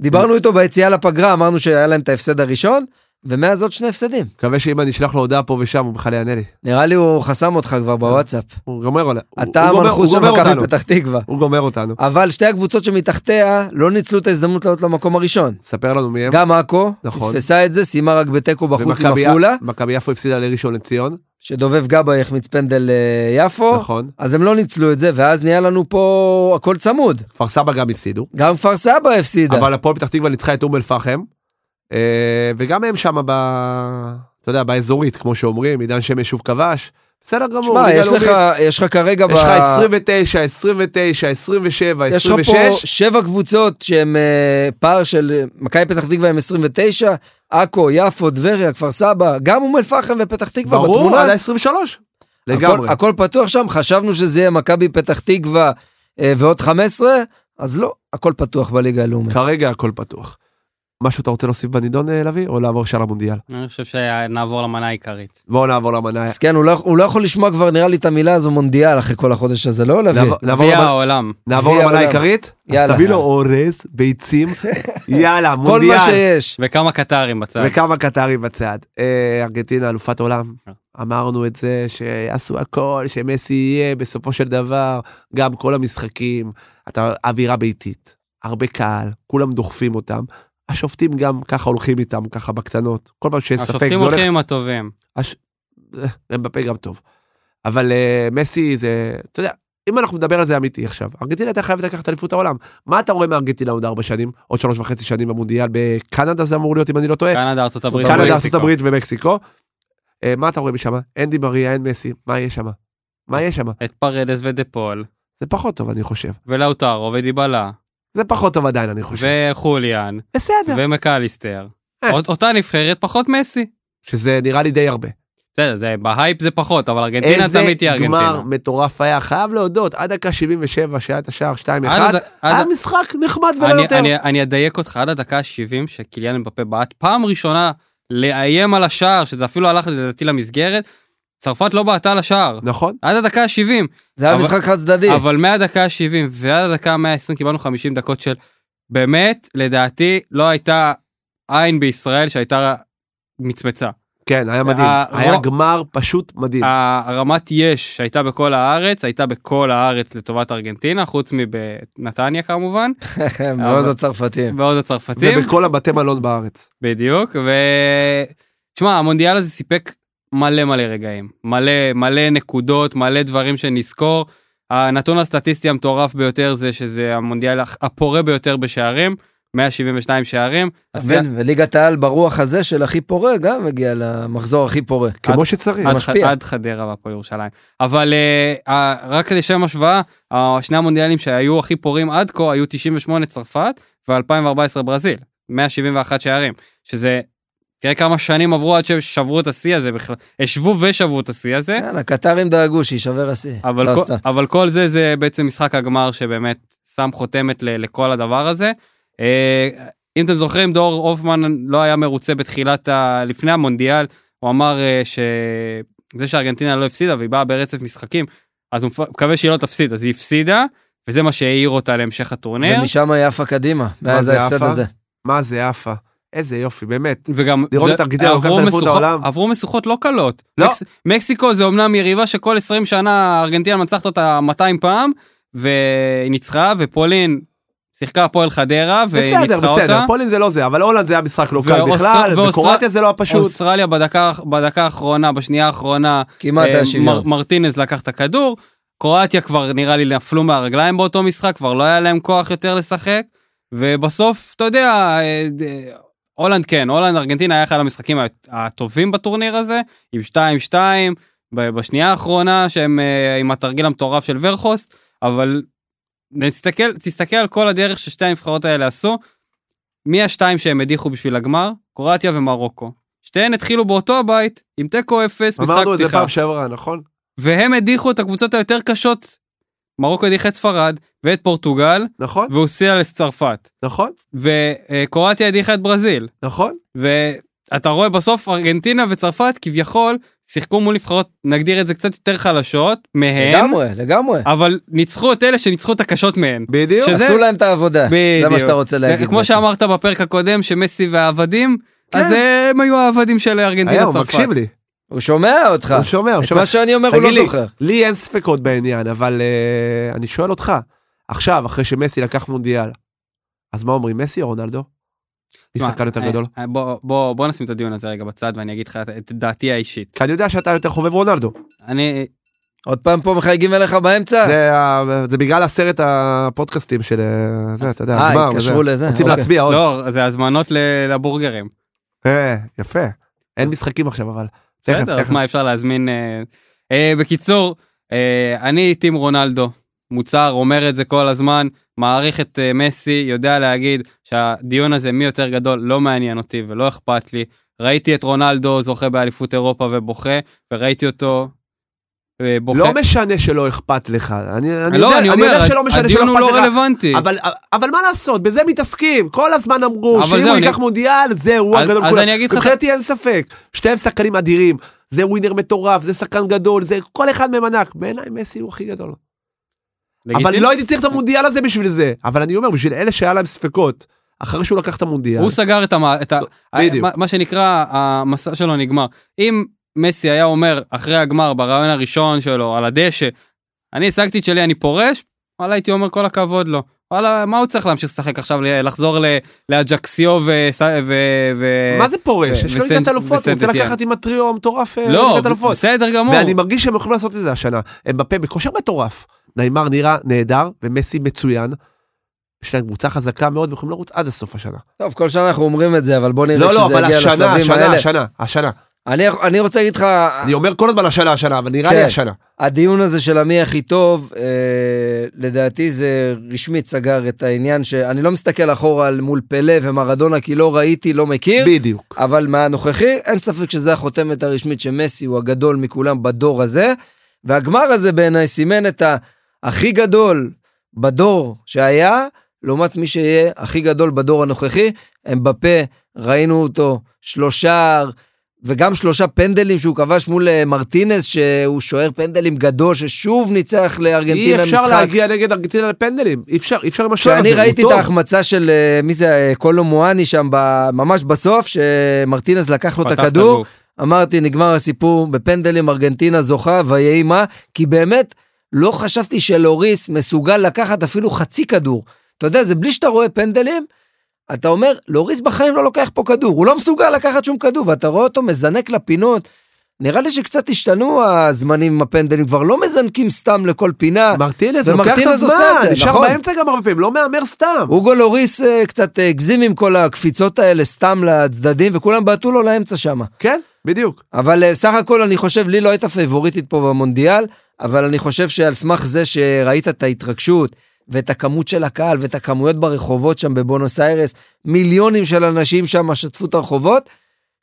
S2: דיברנו איתו ביציאה לפגרה, אמרנו שהיה להם את ההפסד הראשון, ומאז עוד שני הפסדים.
S1: מקווה שאם אני אשלח לו הודעה פה ושם, הוא בכלל יענה לי.
S2: נראה לי הוא חסם אותך כבר בוואטסאפ.
S1: הוא גומר עולה- הוא-
S2: אתה
S1: הוא גומר-
S2: המנחוס
S1: הוא
S2: של
S1: גומר אותנו.
S2: מכבי פתח תקווה.
S1: הוא גומר אותנו.
S2: אבל שתי הקבוצות שמתחתיה לא ניצלו את ההזדמנות לעלות למקום הראשון.
S1: ספר לנו מי הם.
S2: גם עכו,
S1: כן. נכון.
S2: פספסה את זה, סיימה רק בתיקו בחוץ עם
S1: ומכבי-
S2: עפולה,
S1: מכבי יפו הפסידה לראשון לציון,
S2: שדובב גבאי החמיץ פנדל אה, יפו,
S1: נכון.
S2: אז הם לא ניצלו את זה, ואז נהיה לנו פה הכל צמוד.
S1: כפר סבא גם הפסידו.
S2: גם כפר סבא הפסידה.
S1: אבל הפועל פתח תקווה ניצחה את אום אל פחם. אה, וגם הם שם ב... אתה יודע, באזורית, כמו שאומרים, עידן שמש שוב כבש. בסדר גמור.
S2: שמע,
S1: ליגה
S2: יש לך,
S1: לאומית.
S2: יש לך כרגע,
S1: יש לך 29, 29, 27,
S2: יש לך
S1: 26.
S2: פה שבע קבוצות שהן אה, פער של אה, מכבי פתח תקווה עם 29, עכו, יפו, טבריה, כפר סבא, גם אום אל פחם ופתח תקווה
S1: ברור,
S2: בתמונה.
S1: עד ה-23. לגמרי.
S2: הכל, הכל פתוח שם, חשבנו שזה יהיה מכבי פתח תקווה אה, ועוד 15, אז לא, הכל פתוח בליגה הלאומית.
S1: כרגע הכל פתוח. משהו אתה רוצה להוסיף בנידון, אה, לביא, או לעבור ישר למונדיאל?
S3: אני חושב שנעבור למנה העיקרית.
S1: בואו נעבור למנה.
S2: מסכן, הוא לא, הוא לא יכול לשמוע כבר נראה לי את המילה הזו מונדיאל אחרי כל החודש הזה, לא להביא.
S1: נעבור- נעבור
S3: גביע
S1: למנה-
S3: העולם.
S1: נעבור
S2: גביע
S1: למנה
S2: העולם.
S1: העיקרית? אז
S2: יאללה.
S1: תביא לו אורז, ביצים, יאללה,
S2: כל
S1: מונדיאל.
S2: מה שיש.
S3: וכמה קטרים בצד.
S1: וכמה קטרים בצד. אה, ארגנטינה אלופת עולם.
S3: אה.
S1: אמרנו את זה שיעשו הכל, שמסי יהיה בסופו של דבר, גם כל המשחקים, אתה אווירה ביתית, הרבה קהל, כולם דוחפים אותם. השופטים גם ככה הולכים איתם, ככה בקטנות. כל פעם שיש ספק זה
S3: השופטים
S1: הולך,
S3: הולכים עם הטובים.
S1: הם בפה גם טוב. אבל אה, מסי זה, אתה יודע, אם אנחנו נדבר על זה אמיתי עכשיו, ארגנטינה הייתה חייבת לקחת אליפות העולם. מה אתה רואה מארגנטינה עוד ארבע שנים, עוד שלוש וחצי שנים במונדיאל בקנדה זה אמור להיות אם אני לא טועה?
S3: קנדה, ארצות הברית.
S1: קנדה,
S3: ומקסיקו.
S1: ארצות הברית ומקסיקו. אה, מה אתה רואה משם? אין די מריה, אין מסי, מה יש שם? מה יש שם?
S3: את פרדס ודה פול,
S1: זה פחות טוב אני חושב.
S3: ולאוטרו ודיבלה,
S1: זה פחות טוב עדיין אני חושב.
S3: וחוליאן,
S1: בסדר.
S3: ומקליסטר.
S1: אה.
S3: אות- אותה נבחרת פחות מסי.
S1: שזה נראה לי די הרבה.
S3: בסדר, זה בהייפ זה פחות, אבל ארגנטינה
S1: איזה
S3: תמיד תהיה
S1: גמר
S3: ארגנטינה.
S1: מטורף היה, חייב להודות, עד דקה 77 שהיה את השער 2-1,
S3: עד הד- עד-
S1: היה משחק נחמד ולא
S3: אני-
S1: יותר.
S3: אני- אני אדייק אותך עד הדקה ה-70 שקיליאן מבפה בעט פעם ראשונה לאיים על השער, שזה אפילו הלך לדעתי למסגרת, צרפת לא בעטה לשער.
S1: נכון?
S3: עד הדקה ה-70,
S2: זה היה
S3: אבל-
S2: משחק חד צדדי.
S3: אבל מהדקה ה-70 ועד הדקה ה-120 קיבלנו 50 דקות של באמת, לדעתי, לא הייתה עין בישראל שהייתה מצמצה.
S1: כן, היה מדהים.
S3: ה-
S1: היה
S3: רו-
S1: גמר פשוט מדהים.
S3: הרמת יש שהייתה בכל הארץ, הייתה בכל הארץ לטובת ארגנטינה, חוץ מבנתניה כמובן,
S2: <laughs> מעוז הצרפתים.
S3: ועוד הצרפתים,
S1: ובכל הבתי מלון בארץ.
S3: בדיוק, ו... תשמע, המונדיאל הזה סיפק מלא מלא רגעים, מלא מלא נקודות, מלא דברים שנזכור. הנתון הסטטיסטי המטורף ביותר זה שזה המונדיאל הפורה ביותר בשערים, 172 שערים.
S2: אתה
S3: השיא-
S2: מבין? וליגת העל ברוח הזה של הכי פורה גם מגיע למחזור הכי פורה.
S1: כמו שצריך.
S2: זה
S3: עד, ח...
S2: משפיע.
S3: עד חדרה והפועל ירושלים. אבל uh, uh, רק לשם השוואה, uh, שני המונדיאלים שהיו הכי פורים עד כה היו 98 צרפת ו-2014 ברזיל, 171 שערים, שזה, תראה כמה שנים עברו עד ששברו את השיא הזה בכלל, השוו ושברו את השיא הזה,
S2: יאללה, קטרים דאגו שיישבר השיא.
S3: אבל,
S2: לא
S3: כל,
S2: עשתה.
S3: אבל כל זה זה בעצם משחק הגמר שבאמת שם חותמת ל, לכל הדבר הזה. אה, אם אתם זוכרים דור הופמן לא היה מרוצה בתחילת ה... לפני המונדיאל הוא אמר אה, שזה שארגנטינה לא הפסידה והיא באה ברצף משחקים אז הוא מפ- מקווה שהיא לא תפסיד אז היא הפסידה וזה מה שהעיר אותה להמשך הטורניר
S2: ומשם היא עפה קדימה, מאז
S1: זה
S2: ההפסד
S1: עפה?
S2: הזה.
S1: מה זה עפה? איזה יופי, באמת.
S3: וגם
S1: לראות
S3: זה-
S1: את ארגנטינה לוקחת
S3: עברו
S1: אליפות
S3: משוכות-
S1: העולם.
S3: עברו משוכות לא קלות
S1: לא.
S3: מקס- מקסיקו זה אומנם יריבה שכל 20 שנה ארגנטינה מנצחת אותה 200 פעם והיא ניצחה ופולין שיחקה הפועל חדרה והיא
S1: בסדר,
S3: ניצחה
S1: בסדר,
S3: אותה.
S1: פולין זה לא זה, אבל הולנד זה היה משחק לא קל
S3: ואוסטר-
S1: בכלל,
S3: ואוסטר-
S1: וקרואטיה זה לא היה פשוט.
S3: אוסטרליה בדקה, בדקה האחרונה בשנייה האחרונה
S2: כמעט
S3: אה,
S2: היה
S3: מר,
S2: שוויון.
S3: מרטינז לקח את הכדור. קרואטיה כבר נראה לי נפלו מהרגליים באותו משחק כבר לא היה להם כוח יותר לשחק ובסוף אתה יודע אה, אה, הולנד כן הולנד ארגנטינה היה אחד המשחקים הטובים בטורניר הזה עם 2-2 ב- בשנייה האחרונה שהם אה, עם התרגיל המטורף של ורכוסט אבל נסתכל תסתכל על כל הדרך ששתי הנבחרות האלה עשו. מי השתיים שהם הדיחו בשביל הגמר קרואטיה ומרוקו. שתיהן התחילו באותו הבית עם תיקו אפס משחק
S1: אמרנו את זה
S3: פתיחה.
S1: פעם שעברה, נכון?
S3: והם הדיחו את הקבוצות היותר קשות. מרוקו הדיחה את ספרד ואת פורטוגל
S1: נכון?
S3: והוסיעה לצרפת
S1: נכון?
S3: וקרואטיה הדיחה את ברזיל
S1: נכון?
S3: ואתה רואה בסוף ארגנטינה וצרפת כביכול שיחקו מול נבחרות נגדיר את זה קצת יותר חלשות מהן
S2: לגמרי, לגמרי.
S3: אבל ניצחו את אלה שניצחו את הקשות מהן.
S1: בדיוק.
S3: שזה-
S2: עשו להם את העבודה, זה מה
S3: בדיוק.
S2: שאתה רוצה
S3: זה
S2: להגיד.
S3: כמו
S2: בעצם.
S3: שאמרת בפרק הקודם שמסי והעבדים
S2: כן.
S3: אז אה, הם היו העבדים של
S1: היה,
S3: ארגנטינה
S1: הוא
S3: צרפת.
S1: מקשיב לי,
S2: הוא שומע אותך.
S1: הוא שומע, הוא
S2: את
S1: שומע.
S2: מה שאני אומר הוא
S1: תגיד
S2: לא
S1: לי,
S2: זוכר.
S1: לי אין ספקות בעניין, אבל אה, אני שואל אותך, עכשיו, אחרי שמסי לקח מונדיאל, אז מה אומרים, מסי או רונלדו? מי
S3: תשמע,
S1: שחקן יותר
S3: אה,
S1: גדול?
S3: אה, בוא- בוא בוא נשים את הדיון הזה רגע בצד ואני אגיד לך את- את דעתי האישית.
S1: כי אני יודע שאתה יותר חובב רונלדו.
S3: אני
S2: עוד פעם פה מחייגים אליך באמצע? <laughs>
S1: זה ה- זה בגלל הסרט הפודקאסטים של... אה, זה, אתה יודע,
S2: אה,
S1: הגמר
S2: התקשרו
S1: וזה.
S2: לזה.
S1: רוצים
S2: אוקיי.
S1: להצביע עוד.
S3: לא זה הזמנות ל- לבורגרים.
S1: אה, יפה. אין משחקים עכשיו, אבל. תכף,
S3: בסדר, אז
S1: תכף.
S3: מה אפשר להזמין. אה, אה, בקיצור אה, אני טים רונלדו מוצר אומר את זה כל הזמן מעריך את אה, מסי יודע להגיד שהדיון הזה מי יותר גדול לא מעניין אותי ולא אכפת לי. ראיתי את רונלדו זוכה באליפות אירופה ובוכה וראיתי אותו. אה, בוכה.
S1: לא משנה שלא אכפת לך. אני אני
S3: לא,
S1: יודע
S3: אני
S1: אני יודע
S3: אומר,
S1: שלא משנה
S3: הדיון
S1: שלא
S3: הוא לא
S1: אכפת לך.
S3: רלוונטי.
S1: אבל, אבל מה לעשות, בזה מתעסקים. כל הזמן אמרו
S3: אבל
S1: שאם
S3: זהו,
S1: הוא
S3: אני-
S1: ייקח מונדיאל, זה הוא
S3: אז-
S1: הגדול
S3: אז
S1: מכולם.
S3: אני אגיד לך-
S1: מבחינתי אין ספק, שתיהם שחקנים אדירים. זה ווינר מטורף, זה שחקן גדול, זה כל אחד מהם ענק. בעיניי מסי הוא הכי גדול.
S3: לגיטימי.
S1: אבל לא הייתי צריך את המונדיאל הזה בשביל זה. אבל אני אומר, בשביל אלה שהיה להם ספקות, אחרי שהוא לקח את המונדיאל,
S3: הוא סגר את, המ... את ה...
S1: בדיוק.
S3: מה, מה שנקרא המסע שלו נגמר. אם מסי היה אומר אחרי הגמר ברעיון הראשון שלו על הדשא, אני השגתי את שלי אני פורש, וואלה הייתי אומר כל הכבוד לו. וואלה מה הוא צריך להמשיך לשחק עכשיו ל- לחזור ל- לאג'קסיו ו... ו... ו...
S1: מה זה פורש?
S2: כן,
S3: ו-
S1: יש לו
S3: וסנט-
S1: ליגת אלופות, הוא רוצה
S3: וסנט
S1: לקחת עם הטריו המטורף אה,
S3: לא,
S1: ליגת אלופות.
S3: בסדר גמור.
S1: ואני מרגיש שהם יכולים לעשות את זה השנה. הם בפה בכושר מטורף. נעימר נראה נהדר ומסי מצוין. יש להם קבוצה חזקה מאוד ויכולים לרוץ עד הסוף השנה.
S2: טוב, כל שנה אנחנו אומרים את זה, אבל בוא נראה
S1: לא, לא,
S2: כשזה
S1: אבל
S2: יגיע
S1: השנה,
S2: לשלבים
S1: השנה,
S2: האלה. אה.
S1: השנה, השנה.
S2: אני- אני רוצה להגיד לך,
S1: אני אומר כל הזמן השנה, השנה, אבל נראה לי
S2: כן.
S1: השנה.
S2: הדיון הזה של המי הכי טוב, אה, לדעתי זה רשמית סגר את העניין שאני לא מסתכל אחורה על מול פלא ומרדונה כי לא ראיתי, לא מכיר,
S1: בדיוק.
S2: אבל מהנוכחי אין ספק שזה החותמת הרשמית שמסי הוא הגדול מכולם בדור הזה, והגמר הזה בעיניי סימן את ה- הכי גדול בדור שהיה, לעומת מי שיהיה הכי גדול בדור הנוכחי, הם בפה, ראינו אותו, שלושה, וגם שלושה פנדלים שהוא כבש מול אה, מרטינס, שהוא שוער פנדלים גדול, ששוב ניצח
S1: אי
S2: לארגנטינה
S1: אפשר
S2: משחק.
S1: להגיע נגד ארגנטינה לפנדלים. אי אפשר, אי אפשר עם השוער הזה,
S2: כשאני
S1: הוא
S2: ראיתי את
S1: טוב.
S2: ההחמצה של, אה, מי זה, אה, קולו מואני שם, ב- ממש בסוף, שמרטינז לקח לו את
S3: פתח
S2: הכדור,
S3: הגוף.
S2: אמרתי, נגמר הסיפור, בפנדלים ארגנטינה זוכה, ויהי מה, כי באמת, לא חשבתי שלוריס מסוגל לקחת אפילו חצי כדור. אתה יודע, זה בלי שאתה רואה פנדלים, אתה אומר, לוריס בחיים לא לוקח פה כדור, הוא לא מסוגל לקחת שום כדור, ואתה רואה אותו מזנק לפינות. נראה לי שקצת השתנו הזמנים עם הפנדלים, כבר לא מזנקים סתם לכל פינה.
S1: מרטינז לוקח את
S2: ומרטינז
S1: הזמן,
S2: עושה את זה,
S1: נשאר
S2: נכון.
S1: באמצע גם הרבה פעמים, לא מהמר סתם.
S2: אוגו לוריס אה, קצת אה, הגזים עם כל הקפיצות האלה סתם לצדדים, וכולם בעטו לו לאמצע שם.
S1: כן, בדיוק.
S2: אבל אה, סך הכל אני חושב, לי לא הייתה פייבוריטית פה במונדיאל, אבל אני חושב שעל סמך זה שראית את ההתרגשות, ואת הכמות של הקהל, ואת הכמויות ברחובות שם בבונוס איירס, מיליונים של אנשים שם שטפו את הרחובות,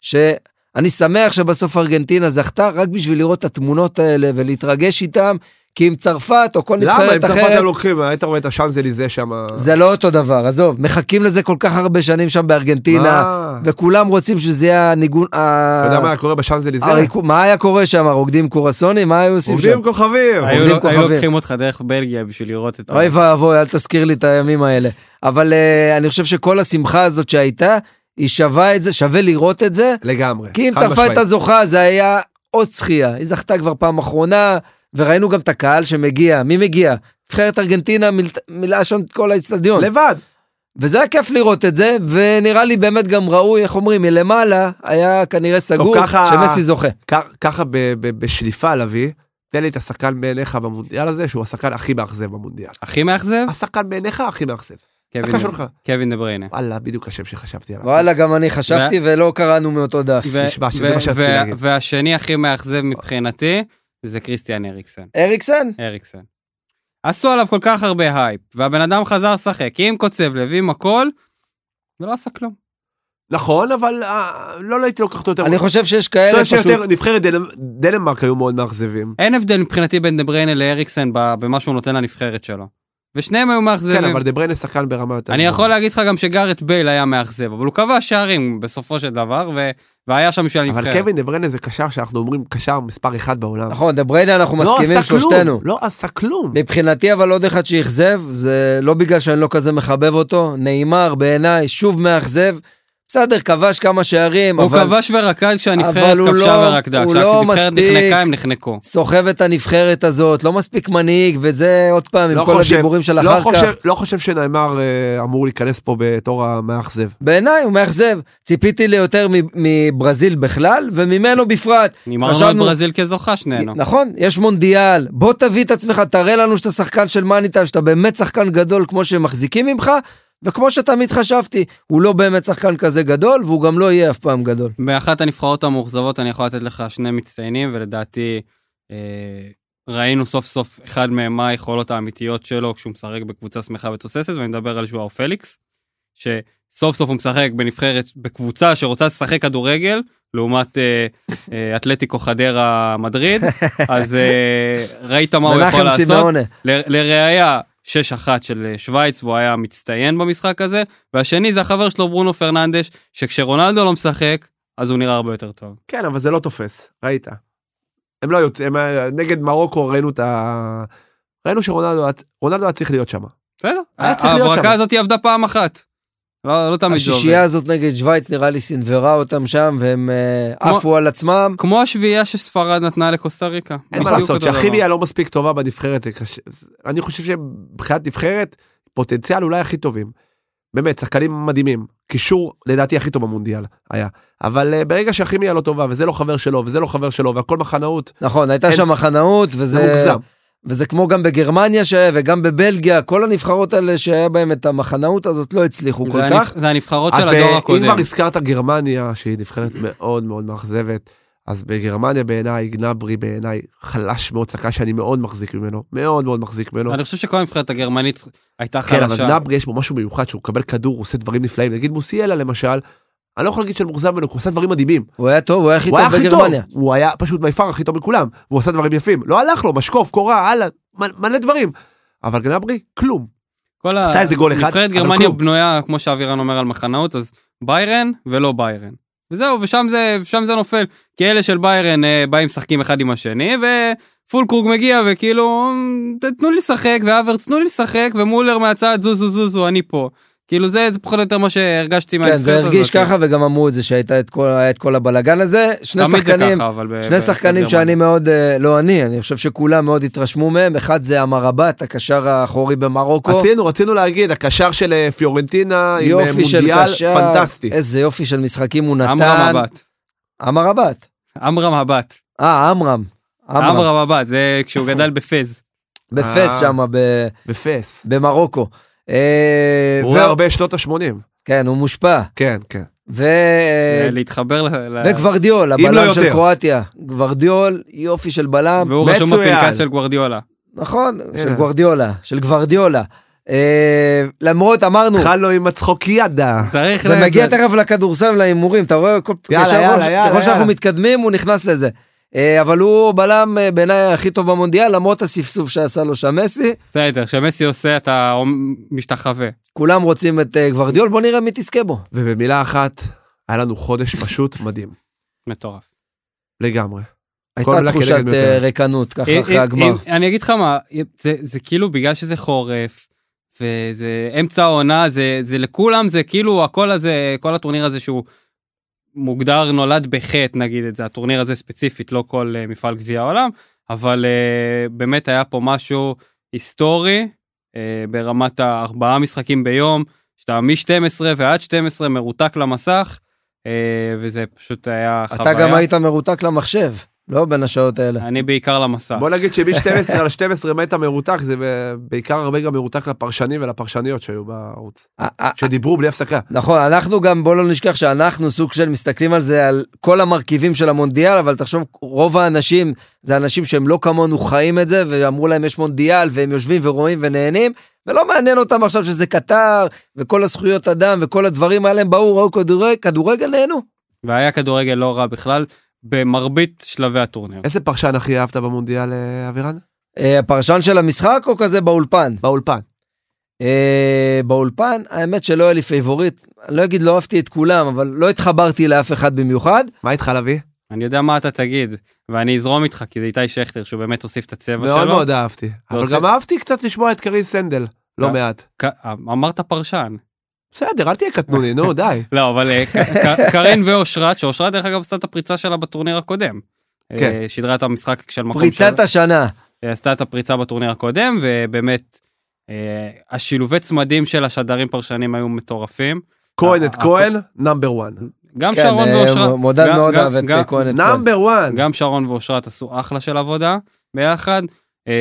S2: שאני שמח שבסוף ארגנטינה זכתה, רק בשביל לראות את התמונות האלה ולהתרגש איתם, כי אם צרפת או כל
S1: למה? אם
S2: נבחרת
S1: צרפת לא-
S2: אחרת,
S1: היו לוקחים, היית רואה את השאנזליזה שם.
S2: זה לא אותו דבר, עזוב, מחכים לזה כל כך הרבה שנים שם בארגנטינה,
S1: מה?
S2: וכולם רוצים שזה יהיה הניגון...
S1: אתה יודע מה היה קורה בשאנזליזה?
S2: הריקו- מה היה קורה שם? רוקדים קורסונים? מה היו עושים שם?
S1: עובדים כוכבים.
S3: היו
S2: עובדים
S3: לו- היו
S2: כוכבים.
S3: לוקחים אותך דרך בלגיה בשביל לראות את...
S2: אוי ואבוי, אל תזכיר לי את הימים האלה. אבל אה, אני חושב שכל השמחה הזאת שהייתה, היא שווה את זה, שווה לראות את זה.
S1: לגמרי.
S2: כי אם
S1: חד
S2: צרפת
S1: משמעית.
S2: הייתה זוכה, זה היה עוד זכייה. היא זכתה כבר פעם אחרונה, וראינו גם את הקהל שמגיע. מי מגיע? נבחרת ארגנטינה מיל- מילאה שם את כל האצטדיון.
S1: לבד.
S2: וזה היה כיף לראות את זה, ונראה לי באמת גם ראוי, איך אומרים, מלמעלה, היה כנראה סגור
S1: ככה-
S2: שמסי זוכה.
S1: כ- ככה ב- ב- בשליפה לביא, תן לי את השחקן בעיניך במונדיאל הזה, שהוא השחקן הכי מאכזב במונדיאל.
S3: הכי מאכזב?
S1: השחקן בעיניך הכי מאכזב.
S3: קווין
S1: שחקן
S3: דה-
S1: שלך.
S3: קווין דה בריינה.
S1: וואלה, בדיוק השם שחשבתי עליו.
S2: כן, וואלה, גם אני חשבתי ולא קראנו מאותו דף.
S3: ו-
S1: נשבע שזה
S3: ו-
S1: מה שרציתי
S3: ו-
S1: להגיד.
S3: והשני הכי מאכזב מבחינתי זה כריסטיאן אריקסן.
S2: אריקסן?
S3: אריקסן. עשו עליו כל כך הרבה הייפ, והבן אדם חזר לשחק עם קוצב לב, עם הכל, ולא עשה כלום.
S1: נכון, אבל אה, לא לא הייתי לוקח אותו יותר.
S2: אני חושב שיש כאלה
S1: חושב
S2: פשוט...
S1: שיותר נבחרת דנ- דנמרק היו מאוד מאכזבים.
S3: אין הבדל מבחינתי בין דה בריינה לאריקסן ב- במה שהוא נותן לנבחרת שלו. ושניהם היו מאכזבים.
S1: כן, אבל דה בריינה שחקן ברמה יותר.
S3: אני
S1: גבוהה.
S3: יכול להגיד לך גם שגארט בייל היה מאכזב, אבל הוא כבש שערים בסופו של דבר, ו... והיה שם בשביל
S1: אבל
S3: הנבחרת.
S1: קווין דה בריינה זה קשר שאנחנו אומרים קשר מספר אחד בעולם.
S2: נכון, דה בריינה אנחנו
S1: לא
S2: מסכימים
S1: עשה כלום,
S2: שלושתנו.
S1: לא עשה כלום.
S2: מבחינתי אבל עוד אחד שאכזב, זה לא בגלל שאני לא כזה מחבב אותו, נאמר בעיניי, שוב מאכזב. בסדר, כבש כמה שערים,
S3: הוא
S2: אבל
S3: כבש ורקד כשהנבחרת
S2: אבל הוא
S3: כבשה
S2: לא-
S3: ורקדה.
S2: הוא לא
S3: כשהנבחרת
S2: מספיק.
S3: נחנקה הם נחנקו.
S2: סוחב את הנבחרת הזאת, לא מספיק מנהיג, וזה עוד פעם,
S1: לא
S2: עם כל
S1: חושב-
S2: הדיבורים של
S1: לא
S2: אחר
S1: חושב-
S2: כך.
S1: לא חושב שנאמר אה, אמור להיכנס פה בתור המאכזב.
S2: בעיניי הוא מאכזב. ציפיתי ליותר מ- מברזיל בכלל, וממנו בפרט.
S3: נמרנו את
S2: חשבנו-
S3: ברזיל כזוכה שנינו.
S2: נכון, יש מונדיאל, בוא תביא את עצמך, תראה לנו שאתה שחקן של מאניטיים, שאתה באמת שחקן גדול כמו שמחזיקים ממך, וכמו שתמיד חשבתי, הוא לא באמת שחקן כזה גדול, והוא גם לא יהיה אף פעם גדול.
S3: באחת הנבחרות המאוכזבות אני יכול לתת לך שני מצטיינים, ולדעתי אה, ראינו סוף סוף אחד מהם מה היכולות האמיתיות שלו כשהוא משחק בקבוצה שמחה ותוססת, ואני מדבר על ז'ואר פליקס, שסוף סוף הוא משחק בנבחרת, בקבוצה שרוצה לשחק כדורגל, לעומת אה, אה, אתלטיקו חדרה
S2: <laughs>
S3: מדריד, אז אה, ראית מה הוא יכול
S2: מנחם
S3: לעשות.
S2: סמאונה.
S3: ל- לראיה, 6-1 של אה, שווייץ, והוא היה מצטיין במשחק הזה, והשני זה החבר שלו ברונו פרננדש, שכשרונלדו לא משחק, אז הוא נראה הרבה יותר טוב.
S1: כן, אבל זה לא תופס, ראית. הם לא יוצאים, הם- נגד מרוקו ראינו את ה... ראינו שרונלדו היה- רונלדו היה צריך להיות שם.
S3: בסדר,
S1: היה צריך להיות
S3: ההברקה
S1: שם.
S3: הזאת היא עבדה פעם אחת. לא, לא תמיד זה
S2: השישייה
S3: עובד.
S2: הזאת נגד שווייץ נראה לי סנוורה אותם שם, והם אה,
S3: כמו-
S2: עפו על עצמם.
S3: כמו השביעייה שספרד נתנה לקוסטה ריקה.
S1: אין מה
S3: בדיוק
S1: לעשות,
S3: אותו דבר.
S1: שהכימיה לא מספיק טובה בנבחרת, זה קשה. זה- אני חושב שמבחינת נבחרת, פוטנציאל אולי הכי טובים. באמת, שחקנים מדהימים. קישור לדעתי הכי טוב במונדיאל היה. אבל אה, ברגע שהכימיה לא טובה, וזה לא חבר שלו, וזה לא חבר שלו, והכל מחנאות,
S2: נכון, הייתה
S1: אין-
S2: שם מחנאות,
S1: זה
S2: וזה...
S1: מוגזם.
S2: וזה כמו גם בגרמניה שהיה, וגם בבלגיה, כל הנבחרות האלה שהיה בהם את המחנאות הזאת לא הצליחו כל
S3: זה
S2: כך.
S3: הנבח- זה הנבחרות של
S1: אז
S3: הדור
S1: אה, אם
S3: הקודם.
S1: כבר הזכרת גרמניה, שהיא נבחרת מאוד מאוד מאכזבת, אז בגרמניה בעיניי, גנברי בעיניי חלש מאוד, שחקן שאני מאוד מחזיק ממנו, מאוד מאוד מחזיק ממנו.
S3: אני חושב שכל הנבחרת הגרמנית הייתה
S1: כן, אבל
S3: חלשה.
S1: גנברי יש בו משהו מיוחד, שהוא מקבל כדור, הוא עושה דברים נפלאים, נגיד מוסיאלה למשל, אני לא יכול להגיד שאני מאוכזב ממנו, כי הוא עשה דברים מדהימים.
S2: הוא היה טוב, הוא היה הכי
S1: הוא היה
S2: טוב
S1: הכי טוב,
S2: בגרמניה.
S1: הוא היה פשוט ביפר הכי טוב מכולם, והוא עשה דברים יפים. לא הלך לו, משקוף, קורה, הלאה, מ- מלא דברים. אבל גנברי, כלום.
S3: כל ה-
S1: עשה איזה גול אחד,
S3: נבחרת
S1: אבל
S3: גרמניה
S1: כלום.
S3: בנויה, כמו שאבירן אומר, על מחנאות, אז ביירן ולא ביירן. וזהו, ושם זה, ושם זה נופל. כי אלה של ביירן אה, באים משחקים אחד עם השני, ופולקרוג מגיע וכאילו, "אמ, "ת- תנו לי לשחק, והאברץ תנו לי לשחק, ומולר מהצד זוזו זוזו, אני פה. כאילו זה, זה פחות או יותר מה שהרגשתי
S2: כן, זה הרגיש
S3: הזאת.
S2: ככה, וגם אמרו את זה, שהייתה את כל- היה את כל הבלגן הזה. שני
S3: תמיד זה
S2: שחקנים,
S3: ככה, אבל... ב-
S2: שני
S3: ב-
S2: שחקנים
S3: בגרמניה.
S2: שאני מאוד, אה, לא אני, אני חושב שכולם מאוד התרשמו מהם. אחד זה אמרבת, הקשר האחורי במרוקו.
S1: רצינו, רצינו להגיד, הקשר של אה, פיורנטינה עם אה,
S2: יופי של
S1: מונדיאל
S2: קשר. אה,
S1: פנטסטי.
S2: איזה יופי של משחקים הוא נתן.
S3: עמרם הבת.
S2: אמרבת.
S3: עמרם הבת.
S2: אה, עמרם. עמרם.
S3: אברהם הבא, זה כשהוא
S2: <laughs>
S3: גדל בפז.
S1: אה.
S2: בפס שם, ב-
S1: בפס.
S2: במרוקו. אה,
S1: הוא
S2: ו-
S1: היה הרבה שנות ה-80.
S2: כן, הוא מושפע.
S1: כן, כן.
S2: ו... אה,
S3: אה, להתחבר ל... ל-
S2: וגוורדיול,
S1: אם לא
S2: הבלם של
S1: יותר.
S2: קרואטיה. גוורדיול, יופי של בלם.
S3: והוא רשום
S1: מצוין.
S3: בפנקס של גוורדיולה.
S2: נכון, של
S1: הנה.
S2: גוורדיולה, של גוורדיולה. אה, למרות, אמרנו,
S1: התחלנו עם הצחוקיאדה.
S3: צריך...
S2: זה
S3: ל-
S2: מגיע תכף לכדורסל ולהימורים, אתה רואה, כל-
S1: יאללה,
S2: ישר
S1: יאללה,
S2: ראש-
S1: יאללה,
S2: ככל שאנחנו
S1: יאללה.
S2: מתקדמים, הוא נכנס לזה. אה, אבל הוא בלם אה, בעיניי הכי טוב במונדיאל, למרות הספסוף שעשה לו שם מסי.
S3: בסדר, כשמסי עושה אתה משתחווה.
S2: כולם רוצים את אה, גוורדיול, בוא נראה מי תזכה בו.
S1: ובמילה אחת, היה לנו חודש פשוט מדהים.
S3: מטורף.
S1: לגמרי.
S2: הייתה
S1: מילה
S2: תחושת
S1: כנגד
S2: אה,
S1: יותר. אה,
S2: ריקנות, ככה
S3: אם-
S2: אחרי
S3: אם-
S2: הגמר.
S3: אם- אה, אני אגיד לך מה, זה- זה כאילו בגלל שזה חורף, וזה אמצע העונה, זה זה לכולם, זה כאילו הכל הזה, כל הטורניר הזה שהוא מוגדר נולד בחטא, נגיד את זה, הטורניר הזה ספציפית, לא כל אה, מפעל גביע העולם, אבל אה, באמת היה פה משהו היסטורי, אה, ברמת הארבעה משחקים ביום, שאתה מ-12 ועד 12 מרותק למסך, אה, וזה פשוט היה חוויה.
S2: אתה גם היית מרותק למחשב, לא בין השעות האלה.
S3: אני בעיקר
S2: אה.
S3: למסך.
S1: בוא נגיד שמ-12 על 12 מטה מרותק, זה בעיקר הרבה גם מרותק לפרשנים ולפרשניות שהיו בערוץ.
S2: אה, אה,
S1: שדיברו בלי הפסקה.
S2: נכון, אנחנו גם, בוא לא נשכח שאנחנו סוג של מסתכלים על זה, על כל המרכיבים של המונדיאל, אבל תחשוב, רוב האנשים זה אנשים שהם לא כמונו חיים את זה, ואמרו להם יש מונדיאל, והם יושבים ורואים ונהנים, ולא מעניין אותם עכשיו שזה קטר, וכל הזכויות אדם, וכל הדברים האלה, הם באו, ראו כדורגל, כדורגל נהנו.
S3: והיה כדורגל לא רע בכלל במרבית שלבי הטורניר.
S1: איזה פרשן הכי אהבת במונדיאל, אה, אבירן?
S2: אה, הפרשן של המשחק או כזה באולפן?
S1: באולפן.
S2: אה, באולפן, האמת שלא היה לי פייבוריט, אני לא אגיד לא אהבתי את כולם, אבל לא התחברתי לאף אחד במיוחד.
S1: מה איתך, לביא?
S3: אני יודע מה אתה תגיד, ואני אזרום איתך, כי זה איתי שכטר, שהוא באמת הוסיף את הצבע שלו.
S1: מאוד מאוד אהבתי. אבל
S3: עושה-
S1: גם אהבתי קצת לשמוע את קרי סנדל,
S3: אה.
S1: לא מעט.
S3: ק- אמרת פרשן.
S1: בסדר, אל תהיה קטנוני,
S2: <laughs>
S1: נו, די.
S3: לא, אבל אה, ק- ק- <laughs> קרן ואושרת, שאושרת דרך אגב עשתה את הפריצה שלה בטורניר הקודם.
S1: כן.
S3: אה, שידרה את המשחק של מקום
S2: פריצת השנה.
S3: היא עשתה את הפריצה בטורניר הקודם ובאמת אה, השילובי צמדים של השדרים פרשנים היו מטורפים.
S1: כהן
S3: אה,
S1: את
S3: אה,
S1: כהן, נאמבר 1.
S3: גם
S2: כן,
S3: שרון
S2: אה,
S3: ואושרת.
S2: מודד
S3: גם-
S2: מאוד
S3: גם-
S2: אהב את
S3: גם-
S2: כהן את כהן.
S1: נאמבר 1.
S3: גם שרון ואושרת עשו אחלה של עבודה ביחד. אה,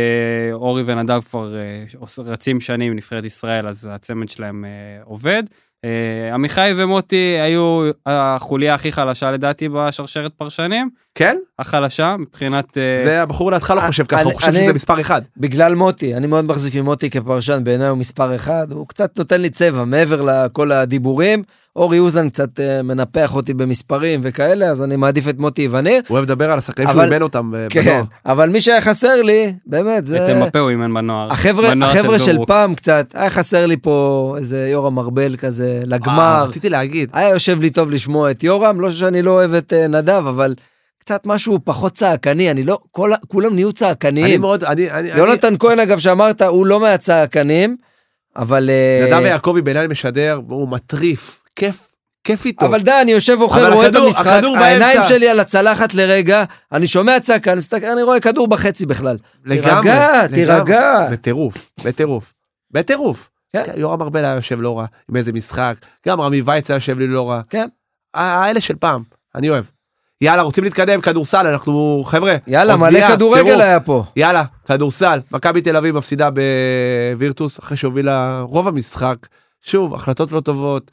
S3: אורי ונדב כבר אה, עוש- רצים שנים עם נבחרת ישראל, אז הצמד שלהם אה, עובד. אה, עמיחי ומוטי היו החוליה הכי חלשה לדעתי בשרשרת פרשנים,
S1: כן?
S3: החלשה מבחינת... אה,
S1: זה הבחור לידך לא
S2: אה,
S1: חושב ככה,
S2: אני-
S1: הוא חושב
S2: אני-
S1: שזה מספר 1.
S2: בגלל מוטי, אני מאוד מחזיק ממוטי כפרשן, בעיניי הוא מספר אחד, הוא קצת נותן לי צבע מעבר לכל הדיבורים. אורי אוזן קצת אה, מנפח אותי במספרים וכאלה, אז אני מעדיף את מוטי איווניר.
S1: הוא אוהב לדבר על השחקנים
S2: אבל-
S1: שהוא אימן אותם אה,
S2: כן,
S1: בנוער.
S2: אבל מי שהיה חסר לי, באמת, זה...
S3: את אמפה הוא אימן בנוער.
S2: החבר'ה,
S3: בנוער
S2: החבר'ה של
S3: דובוק.
S2: פעם קצת, היה חסר לי פה איזה יורם ארבל כזה,
S1: אה,
S2: לגמר.
S1: רציתי להגיד,
S2: היה יושב לי טוב לשמוע את יורם, לא שאני לא אוהב את אה, נדב, אבל קצת משהו פחות צעקני, אני לא, כל, ה- כולם נהיו צעקניים.
S1: אני מאוד, אני, אני, אני-
S2: יונתן כהן אגב שאמרת הוא לא מהצעקנים אבל אה,
S1: נדב יעקבי בעיניי משדר, הוא מטריף, כיף, כיף איטו.
S2: אבל די אני יושב אוכל
S1: אבל
S2: רואה את
S1: הכדור-
S2: המשחק
S1: הכדור
S2: העיניים
S1: באמצע.
S2: שלי על הצלחת לרגע אני שומע צעקה אני מסתכל אני רואה כדור בחצי בכלל.
S1: לגמרי,
S2: תירגע
S1: לגמרי.
S2: תירגע
S1: בטירוף, בטירוף, בטירוף.
S2: כן.
S1: כן, יורם ארבל היה יושב לא רע עם איזה משחק, גם רמי וייץ היה יושב לי לא רע.
S2: כן.
S1: ה- האלה של פעם, אני אוהב. יאללה, רוצים להתקדם, כדורסל, אנחנו, חבר'ה,
S2: יאללה מלא
S1: אוזנייה,
S2: כדורגל
S1: טירוף.
S2: היה פה.
S1: יאללה, כדורסל, מכבי תל אביב מפסידה בווירטוס אחרי שהובילה רוב המשחק. שוב, החלטות לא טובות,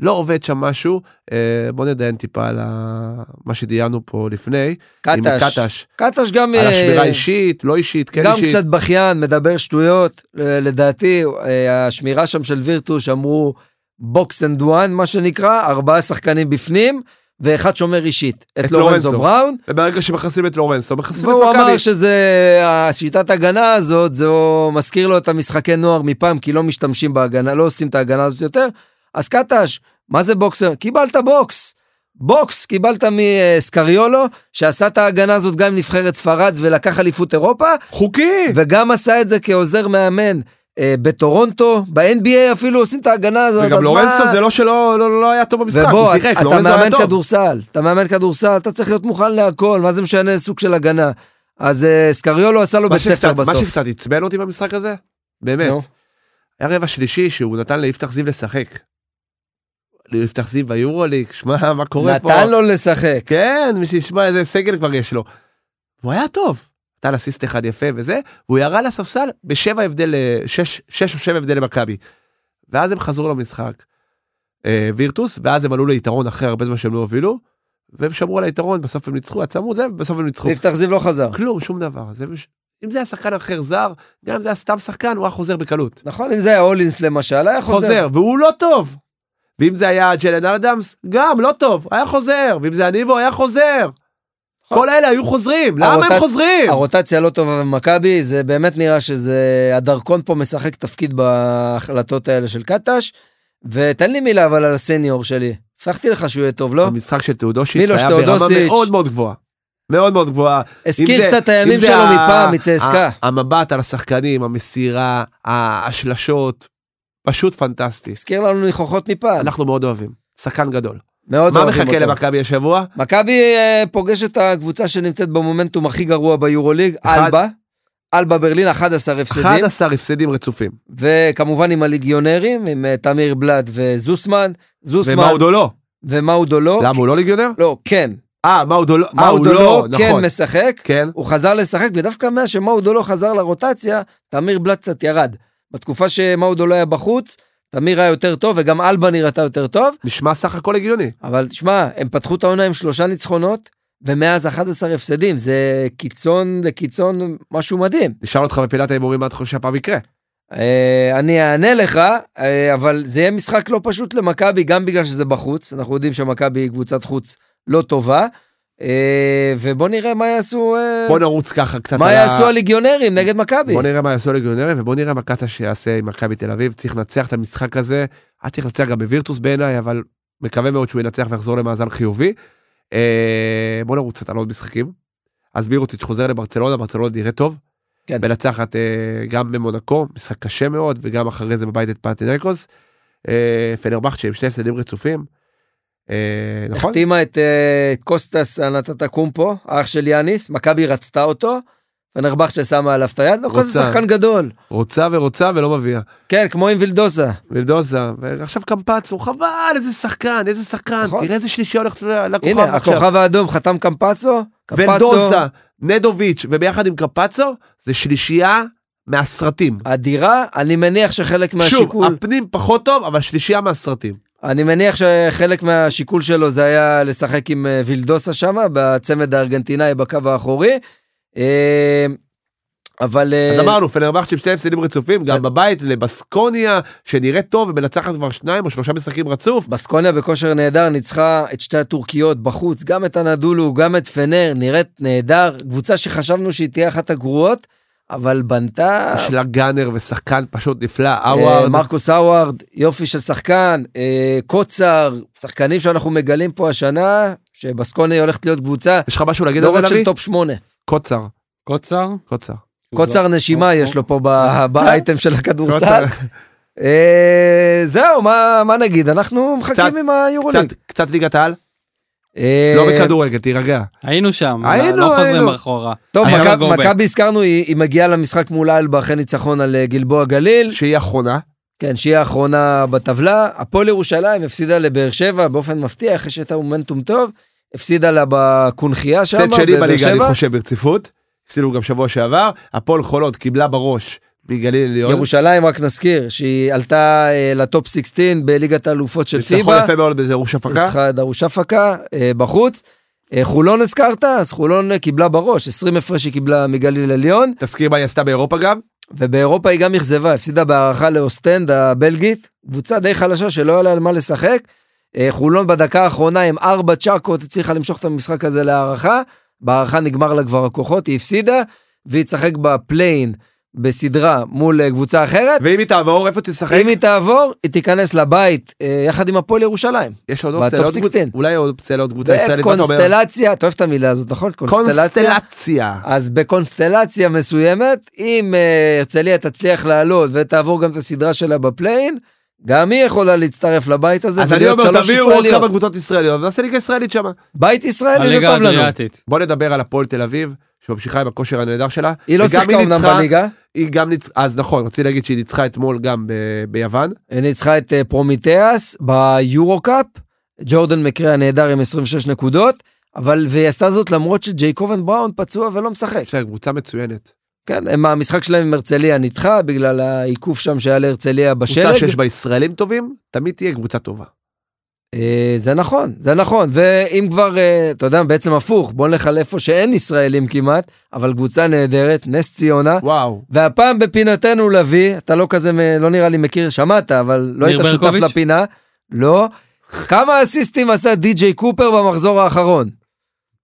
S1: לא עובד שם משהו. אה, בוא נדיין טיפה על ה- מה שדיינו פה לפני. עם
S2: קטש.
S1: קטש.
S2: קטש גם
S1: על
S2: אה,
S1: השמירה אישית, לא אישית, כן
S2: גם
S1: אישית.
S2: קצת בכיין מדבר שטויות אה, לדעתי אה, השמירה שם של וירטוש אמרו בוקס אנד וואן מה שנקרא ארבעה שחקנים בפנים ואחד שומר אישית את
S1: את
S2: לורנזו
S1: לורנזו.
S2: בראון
S1: וברגע שמחסלים את לורנסו, מחסלים את
S2: והוא
S1: מכבי.
S2: אמר שזה, השיטת הגנה הזאת, זו מזכיר לו את המשחקי נוער מפעם, כי לא משתמשים בהגנה, לא עושים את ההגנה הזאת יותר. אז קטש, מה זה בוקסר? קיבלת בוקס. בוקס קיבלת מסקריולו, שעשה את ההגנה הזאת גם עם נבחרת ספרד ולקח אליפות אירופה,
S1: חוקי!
S2: וגם עשה את זה כעוזר מאמן אה, בטורונטו, ב-NBA אפילו עושים את ההגנה הזאת.
S1: וגם
S2: אז
S1: לורנסו
S2: מה-
S1: זה לא שלא לא- לא היה טוב במשחק, הוא
S2: ובוא,
S1: שיחק,
S2: אתה
S1: לורנסו היה
S2: מאמן
S1: טוב.
S2: כדורסל, אתה מאמן כדורסל, אתה צריך להיות מוכן להכל, מה זה משנה סוג של הגנה. אז אה, סקריולו עשה לו
S1: מה
S2: בית ספר
S1: שקצת- מה
S2: בסוף.
S1: שקצת עצבן אותי במשחק הזה, באמת,
S2: נו.
S1: היה רבע שלישי שהוא נתן ליפתח זיו לשחק. יפתח זיו ביורוליג, שמע מה קורה פה.
S2: נתן לו לשחק.
S1: כן, מי שישמע איזה סגל כבר יש לו. הוא היה טוב. נתן אסיסט אחד יפה וזה, והוא ירה לספסל בשבע הבדל, אה, שש, שש או שבע הבדל למכבי. ואז הם חזרו למשחק. אה, וירטוס, ואז הם עלו ליתרון אחרי הרבה זמן שהם לא הובילו, והם שמרו על היתרון, בסוף הם ניצחו, עצמו זה, ובסוף הם ניצחו.
S2: יפתח זיו לא חזר.
S1: כלום, שום דבר. זה, מש- אם זה היה שחקן אחר זר, גם אם זה היה סתם שחקן, הוא היה חוזר בקלות.
S2: נכון, אם זה היה הולינס למשל, היה חוזר.
S1: חוזר, והוא לא טוב. ואם זה היה ג'לן אדמס, גם לא טוב, היה חוזר. ואם זה היה ניבו, היה חוזר.
S2: נכון.
S1: כל אלה היו חוזרים, למה
S2: הרוטצ-
S1: הם חוזרים?
S2: הרוטציה לא טובה במכבי, זה באמת נראה שזה... הדרכון פה משחק תפקיד בהחלטות האלה של קטש. ותן לי מילה אבל על הסניור שלי. הבטחתי לך שהוא יהיה טוב, לא?
S1: המשחק של תאודושיץ'
S2: מילוש
S1: היה ברמה
S2: תאודוסיץ'.
S1: מאוד מאוד גבוהה. מאוד מאוד גבוהה. אם
S2: הזכיר
S1: זה-
S2: קצת את
S1: אם
S2: הימים
S1: זה
S2: שלו
S1: ה-
S2: מפעם, מצייסקה.
S1: ה- המבט על השחקנים, המסירה, השלשות, פשוט פנטסטי.
S2: הזכיר לנו ניחוחות מפעם.
S1: אנחנו מאוד אוהבים, שחקן גדול.
S2: מאוד
S1: מה
S2: אוהבים
S1: מחכה
S2: אותו.
S1: למכבי השבוע?
S2: מכבי אה, פוגש את הקבוצה שנמצאת במומנטום הכי גרוע ביורוליג,
S1: אחד-
S2: אלבה. אלבה ברלין, 11 הפסדים.
S1: 11 הפסדים רצופים.
S2: וכמובן עם הליגיונרים, עם אה, תמיר בלאט וזוסמן. זוסמן
S1: ומאודו לא.
S2: ומאודו לא.
S1: למה הוא לא ליגיונר?
S2: לא, כן.
S1: אה, מאודו לא. אה, הוא
S2: מאודו לא,
S1: לא,
S2: כן
S1: נכון.
S2: משחק.
S1: כן.
S2: הוא חזר לשחק, ודווקא מאז שמאודו לא חזר לרוטציה, תמיר בלאט קצת ירד. בתקופה שמאודו לא היה בחוץ, תמיר היה יותר טוב, וגם אלבה נראתה יותר טוב.
S1: נשמע סך הכל הגיוני.
S2: אבל תשמע, הם פתחו את העונה עם שלושה ניצחונות, ומאז 11 הפסדים, זה קיצון לקיצון משהו מדהים.
S1: נשאל אותך בפינת ההימורים מה אתה חושב שהפעם יקרה.
S2: כן. אה, אני אענה לך, אה, אבל זה יהיה משחק לא פשוט למכבי, גם בגלל שזה בחוץ, אנחנו יודעים שמכבי היא קבוצת חוץ לא טובה, אה, ובוא נראה מה יעשו, אה,
S1: בוא נרוץ ככה קצת
S2: מה
S1: על ה-
S2: יעשו הליגיונרים נגד מכבי.
S1: בוא נראה מה יעשו לגיונרים ובוא נראה מה קטש יעשה עם מכבי תל אביב. צריך לנצח את המשחק הזה. היה צריך לנצח גם בווירטוס בעיניי, אבל מקווה מאוד שהוא ינצח ויחזור למאזן חיובי. אה, בוא נרוץ קצת על עוד משחקים. אז בירוטיץ' חוזר לברצלונה, ברצלונה נראה טוב.
S2: כן.
S1: מנצחת אה, גם במונקו, משחק קשה מאוד, וגם אחרי זה בבית את פנטינקוס. אה, פנרבכצ'ה עם שני הפסדים רצופים. אה, נכון?
S2: החתימה את אה, את קוסטס אנטטקומפו, אח של יאניס, מכבי רצתה אותו, פנרבכצ'ה שמה עליו את היד, לא כזה
S1: רוצה.
S2: שחקן גדול.
S1: רוצה ורוצה ולא מביאה.
S2: כן, כמו עם וילדוסה.
S1: וילדוזה, ועכשיו קמפצו, חבל, איזה שחקן, איזה שחקן,
S2: נכון.
S1: תראה איזה שלישייה הולכת לכוכב
S2: הנה,
S1: עכשיו.
S2: הכוכב האדום חתם קמפצו, קמפצו
S1: ולדוזה, נדוביץ', וביחד עם קמפצו, זה שלישייה מהסרטים.
S2: אדירה, אני מניח שחלק
S1: שוב,
S2: מהשיקול,
S1: הפנים פחות טוב, אבל שלישייה מהסרטים.
S2: אני מניח שחלק מהשיקול שלו זה היה לשחק עם אה, וילדוסה שם, בצמד הארגנטינאי בקו האחורי. אה, אבל... אה,
S1: אז אמרנו, פנרבכצ'ים שתי הפסדים רצופים, גם בבית לבסקוניה, שנראית טוב ומנצחת כבר שניים או שלושה משחקים רצוף.
S2: בסקוניה בכושר נהדר ניצחה את שתי הטורקיות בחוץ, גם את הנדולו, גם את פנר, נראית נהדר. קבוצה שחשבנו שהיא תהיה אחת הגרועות, אבל בנתה...
S1: יש לה גאנר ושחקן פשוט נפלא,
S2: אה,
S1: אאוארד.
S2: מרקוס האווארד, יופי של שחקן, אה, קוצר, שחקנים שאנחנו מגלים פה השנה, שבסקוניה הולכת להיות קבוצה
S1: יש לך משהו להגיד
S2: לא
S1: על זה,
S2: רק של
S1: לביא?
S2: טופ שמונה.
S1: קוצר,
S3: קוצר?
S1: קוצר.
S2: קוצר נשימה יש לו פה ב- באייטם של הכדורסל. אה, זהו, מה מה נגיד? אנחנו מחכים
S1: קצת-
S2: עם היורוליג.
S1: קצת- קצת ליגת העל,
S2: אה,
S1: לא בכדורגל, תירגע.
S3: היינו שם,
S1: היינו,
S3: לא חוזרים
S1: היינו.
S3: אחורה.
S2: טוב,
S3: היה
S2: מכב-
S3: מגובה.
S2: מכבי הזכרנו, היא היא מגיעה למשחק מול אלבה אחרי ניצחון על אה, גלבוע גליל,
S1: שהיא אחרונה.
S2: כן, שהיא האחרונה בטבלה. הפועל ירושלים הפסידה לבאר שבע באופן מפתיע, אחרי שהייתה מומנטום טוב, הפסידה לה בקונכייה שם,
S1: הפסד שני
S2: בבאר
S1: בליגה, אני
S2: שבע.
S1: חושב, ברציפות. הפסידו גם שבוע שעבר. הפועל חולון קיבלה בראש מגליל עליון.
S2: ירושלים, רק נזכיר, שהיא עלתה אה, לטופ 16 בליגת האלופות של
S1: ניצחון
S2: פיבה,
S1: יפה מאוד בזירוש הפקה.
S2: ניצחה את דרוש הפקה אה, בחוץ. אה, חולון הזכרת, אז חולון אה, קיבלה בראש, 20 הפרש היא קיבלה מגליל עליון.
S1: תזכיר מה היא עשתה באירופה גם.
S2: ובאירופה היא גם אכזבה, הפסידה בהערכה לאוסטנד הבלגית, קבוצה די חלשה שלא היה לה על מה לשחק. אה, חולון בדקה האחרונה עם ארבע צ'אקות הצליחה למשוך את המשחק הזה להערכה, בהערכה נגמר לה כבר הכוחות, היא הפסידה, והיא תשחק בפליין בסדרה מול אה, קבוצה אחרת.
S1: ואם היא תעבור, איפה תשחק?
S2: אם היא תעבור, היא תיכנס לבית אה, יחד עם הפועל ירושלים.
S1: יש עוד אופציה
S2: בטופ
S1: לעוד
S2: 16.
S1: קבוצה. אולי עוד אופציה לעוד קבוצה ישראלית. מה אתה אומר?
S2: בקונסטלציה, אתה אוהב את המילה הזאת, נכון? קונסטלציה.
S1: קונסטלציה.
S2: אז בקונסטלציה מסוימת, אם אה, הרצליה תצליח לעלות ותעבור גם את הסדרה שלה בפליין, גם היא יכולה להצטרף לבית הזה
S1: אז אני
S2: ולהיות
S1: אומר,
S2: שלוש
S1: תביאו עוד כמה
S2: ישראליות.
S1: קבוצות ישראליות, ונעשה ליגה ישראלית שם.
S2: בית ישראלי זה
S3: הליגה
S2: טוב לנו.
S3: האדריאטית.
S1: בוא נדבר על הפועל תל אביב, שממשיכה עם הכושר הנהדר שלה.
S2: היא לא
S1: וגם
S2: שיחקה אומנם
S1: ניצחה-
S2: בליגה,
S1: היא גם ניצחה, אז נכון, רציתי להגיד שהיא ניצחה אתמול גם ב- ביוון.
S2: היא ניצחה את אה, פרומיטיאס ביורו קאפ, ג'ורדן מקרה הנהדר עם 26 נקודות, אבל והיא עשתה זאת למרות שג'ייקובן בראון פצוע ולא משחק.
S1: יש להם קבוצה מצוינת.
S2: כן, הם- המשחק שלהם עם הרצליה נדחה בגלל העיכוב שם שהיה להרצליה
S1: קבוצה
S2: בשלג.
S1: שיש בה ישראלים טובים, תמיד תהיה קבוצה טובה.
S2: אה, זה נכון, זה נכון, ואם כבר, אה, אתה יודע, בעצם הפוך, בוא נלך על איפה שאין ישראלים כמעט, אבל קבוצה נהדרת, נס ציונה,
S1: וואו.
S2: והפעם בפינתנו לביא, אתה לא כזה, מ- לא נראה לי מכיר, שמעת, אבל לא
S3: ניר
S2: היית שותף
S3: ברקוביץ'?
S2: לפינה, לא. כמה אסיסטים עשה די.ג'יי קופר במחזור האחרון?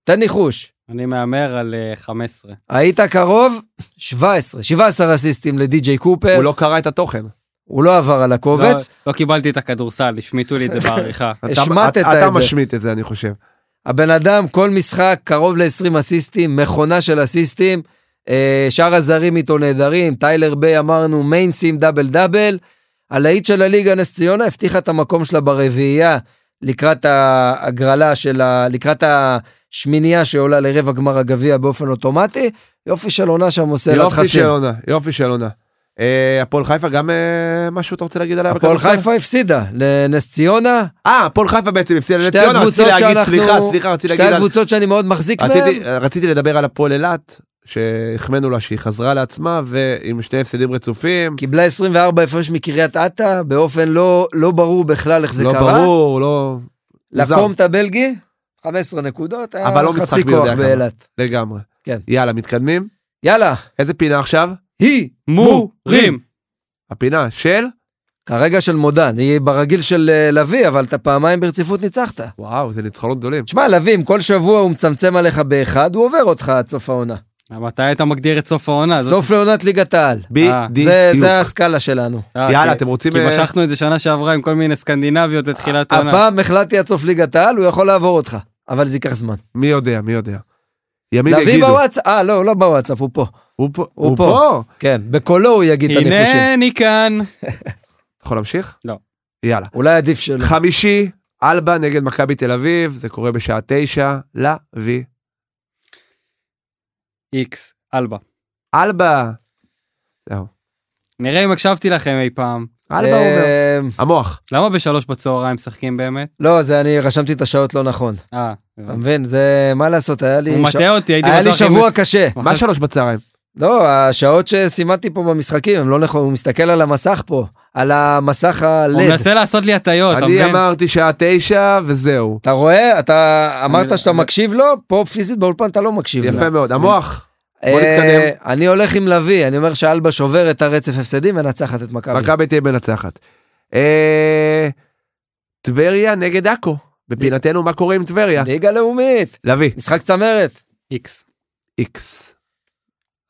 S2: תן ניחוש.
S3: אני מהמר על אה, 15.
S2: היית קרוב? 17, 17 אסיסטים לדי.ג'יי קופר,
S1: הוא לא קרא את התוכן.
S2: הוא לא עבר על הקובץ.
S3: לא- לא קיבלתי את הכדורסל, השמיטו לי את
S2: <laughs>
S3: זה בעריכה.
S1: אתה-
S2: השמטת
S1: אתה-
S2: את
S1: אתה
S2: זה.
S1: משמיט את זה, אני חושב.
S2: הבן אדם כל משחק קרוב ל-20 אסיסטים, מכונה של אסיסטים, אה, שאר הזרים איתו נהדרים, טיילר ביי אמרנו מיינסים דאבל דאבל. הלהיט של הליגה נס ציונה הבטיחה את המקום שלה ברביעייה לקראת ההגרלה של ה... לקראת השמינייה שעולה לרבע גמר הגביע באופן אוטומטי. יופי של עונה שם עושה לה
S1: יופי
S2: חסין.
S1: של עונה, יופי של עונה. אה, הפועל חיפה גם אה, משהו אתה רוצה להגיד עליה?
S2: הפועל
S1: בכדורסל?
S2: חיפה הפסידה לנס ציונה,
S1: אה, הפועל חיפה בעצם הפסידה לנס
S2: שתי
S1: ציונה, רציתי
S2: הקבוצות
S1: להגיד,
S2: שאנחנו,
S1: סליחה, סליחה, רציתי
S2: שתי
S1: להגיד, על-
S2: הקבוצות שאני מאוד מחזיק מהן,
S1: רציתי- רציתי לדבר על הפועל אילת, שהחמאנו לה שהיא חזרה לעצמה, ועם שני הפסדים רצופים,
S2: קיבלה 24 הפרש מקריית אתא באופן לא, לא ברור בכלל איך זה
S1: לא
S2: קרה.
S1: ברור, לא מוזר.
S2: לקומט הבלגי, 15 נקודות, היה
S1: אבל לא משחק
S2: חצי
S1: מי יודע
S2: כוח
S1: כמה.
S2: באילת.
S1: לגמרי.
S2: כן.
S1: יאללה, מתקדמים.
S2: יאללה,
S1: איזה פינה עכשיו?
S2: היא
S3: מורים!
S1: הפינה של?
S2: כרגע של מודן, היא ברגיל של אה, לביא, אבל אתה פעמיים ברציפות ניצחת.
S1: וואו, זה ניצחונות גדולים.
S2: תשמע, לביא, אם כל שבוע הוא מצמצם עליך באחד, הוא עובר אותך עד סוף העונה.
S3: אה, מתי היית מגדיר את סוף העונה? אה, זאת-
S2: סוף לעונת ליגת העל.
S1: בדיוק.
S2: אה, זה, זה הסקאלה שלנו.
S3: אה,
S1: יאללה,
S3: כי-
S1: אתם רוצים...
S3: כי
S1: אה,
S3: משכנו את זה שנה שעברה עם כל מיני סקנדינביות בתחילת העונה.
S2: הפעם החלטתי עד סוף ליגת העל, הוא יכול לעבור אותך, אבל זה ייקח זמן.
S1: מי יודע, מי יודע. ימים
S2: לביא
S1: יגידו.
S2: בוואטסאפ, אה, לא, לא בוואטסאפ, הוא פה.
S1: הוא פה.
S2: הוא
S1: הוא
S2: פה.
S1: פה.
S2: כן, בקולו הוא יגיד את הניחושים.
S3: הנה אני כאן.
S1: יכול להמשיך?
S3: לא.
S1: יאללה.
S2: אולי עדיף שלא.
S1: חמישי, אלבה נגד מכבי תל אביב, זה קורה בשעה תשע, לוי.
S3: איקס, אלבה.
S1: אלבה. זהו.
S3: נראה אם הקשבתי לכם אי פעם.
S1: אלבה הוא אומר.
S2: אמ,
S1: אה, המוח.
S3: למה בשלוש בצהריים משחקים באמת?
S2: לא, זה אני רשמתי את השעות לא נכון.
S3: אה,
S2: אתה מבין? זה, מה לעשות, היה לי
S3: הוא
S2: ש-
S3: מטעה אותי, הייתי
S2: היה לי
S3: בטוח אם-
S2: שבוע קשה.
S1: מה שלוש בצהריים?
S2: לא, השעות שסימנתי פה במשחקים, הם לא נכון, הוא מסתכל על המסך פה, על המסך
S3: הוא
S2: הלד.
S3: מנסה לעשות לי הטעיות, אתה
S1: אני
S3: מבין?
S1: אמרתי שעה תשע וזהו.
S2: אתה רואה? אתה אמרת
S3: אני-
S2: שאתה
S3: אני-
S2: מקשיב לו? פה פיזית באולפן אתה לא מקשיב לו.
S1: יפה מאוד. המוח. בוא
S2: אה,
S1: נתקדם.
S2: אני הולך עם לביא, אני אומר שאלבה שובר את הרצף הפסדים מנצחת את מכבי.
S1: מכבי תהיה מנצחת. אה, טבריה נגד עכו. בפינתנו מה קורה עם טבריה?
S2: ליגה לאומית,
S1: לביא.
S2: משחק צמרת.
S3: איקס.
S1: איקס.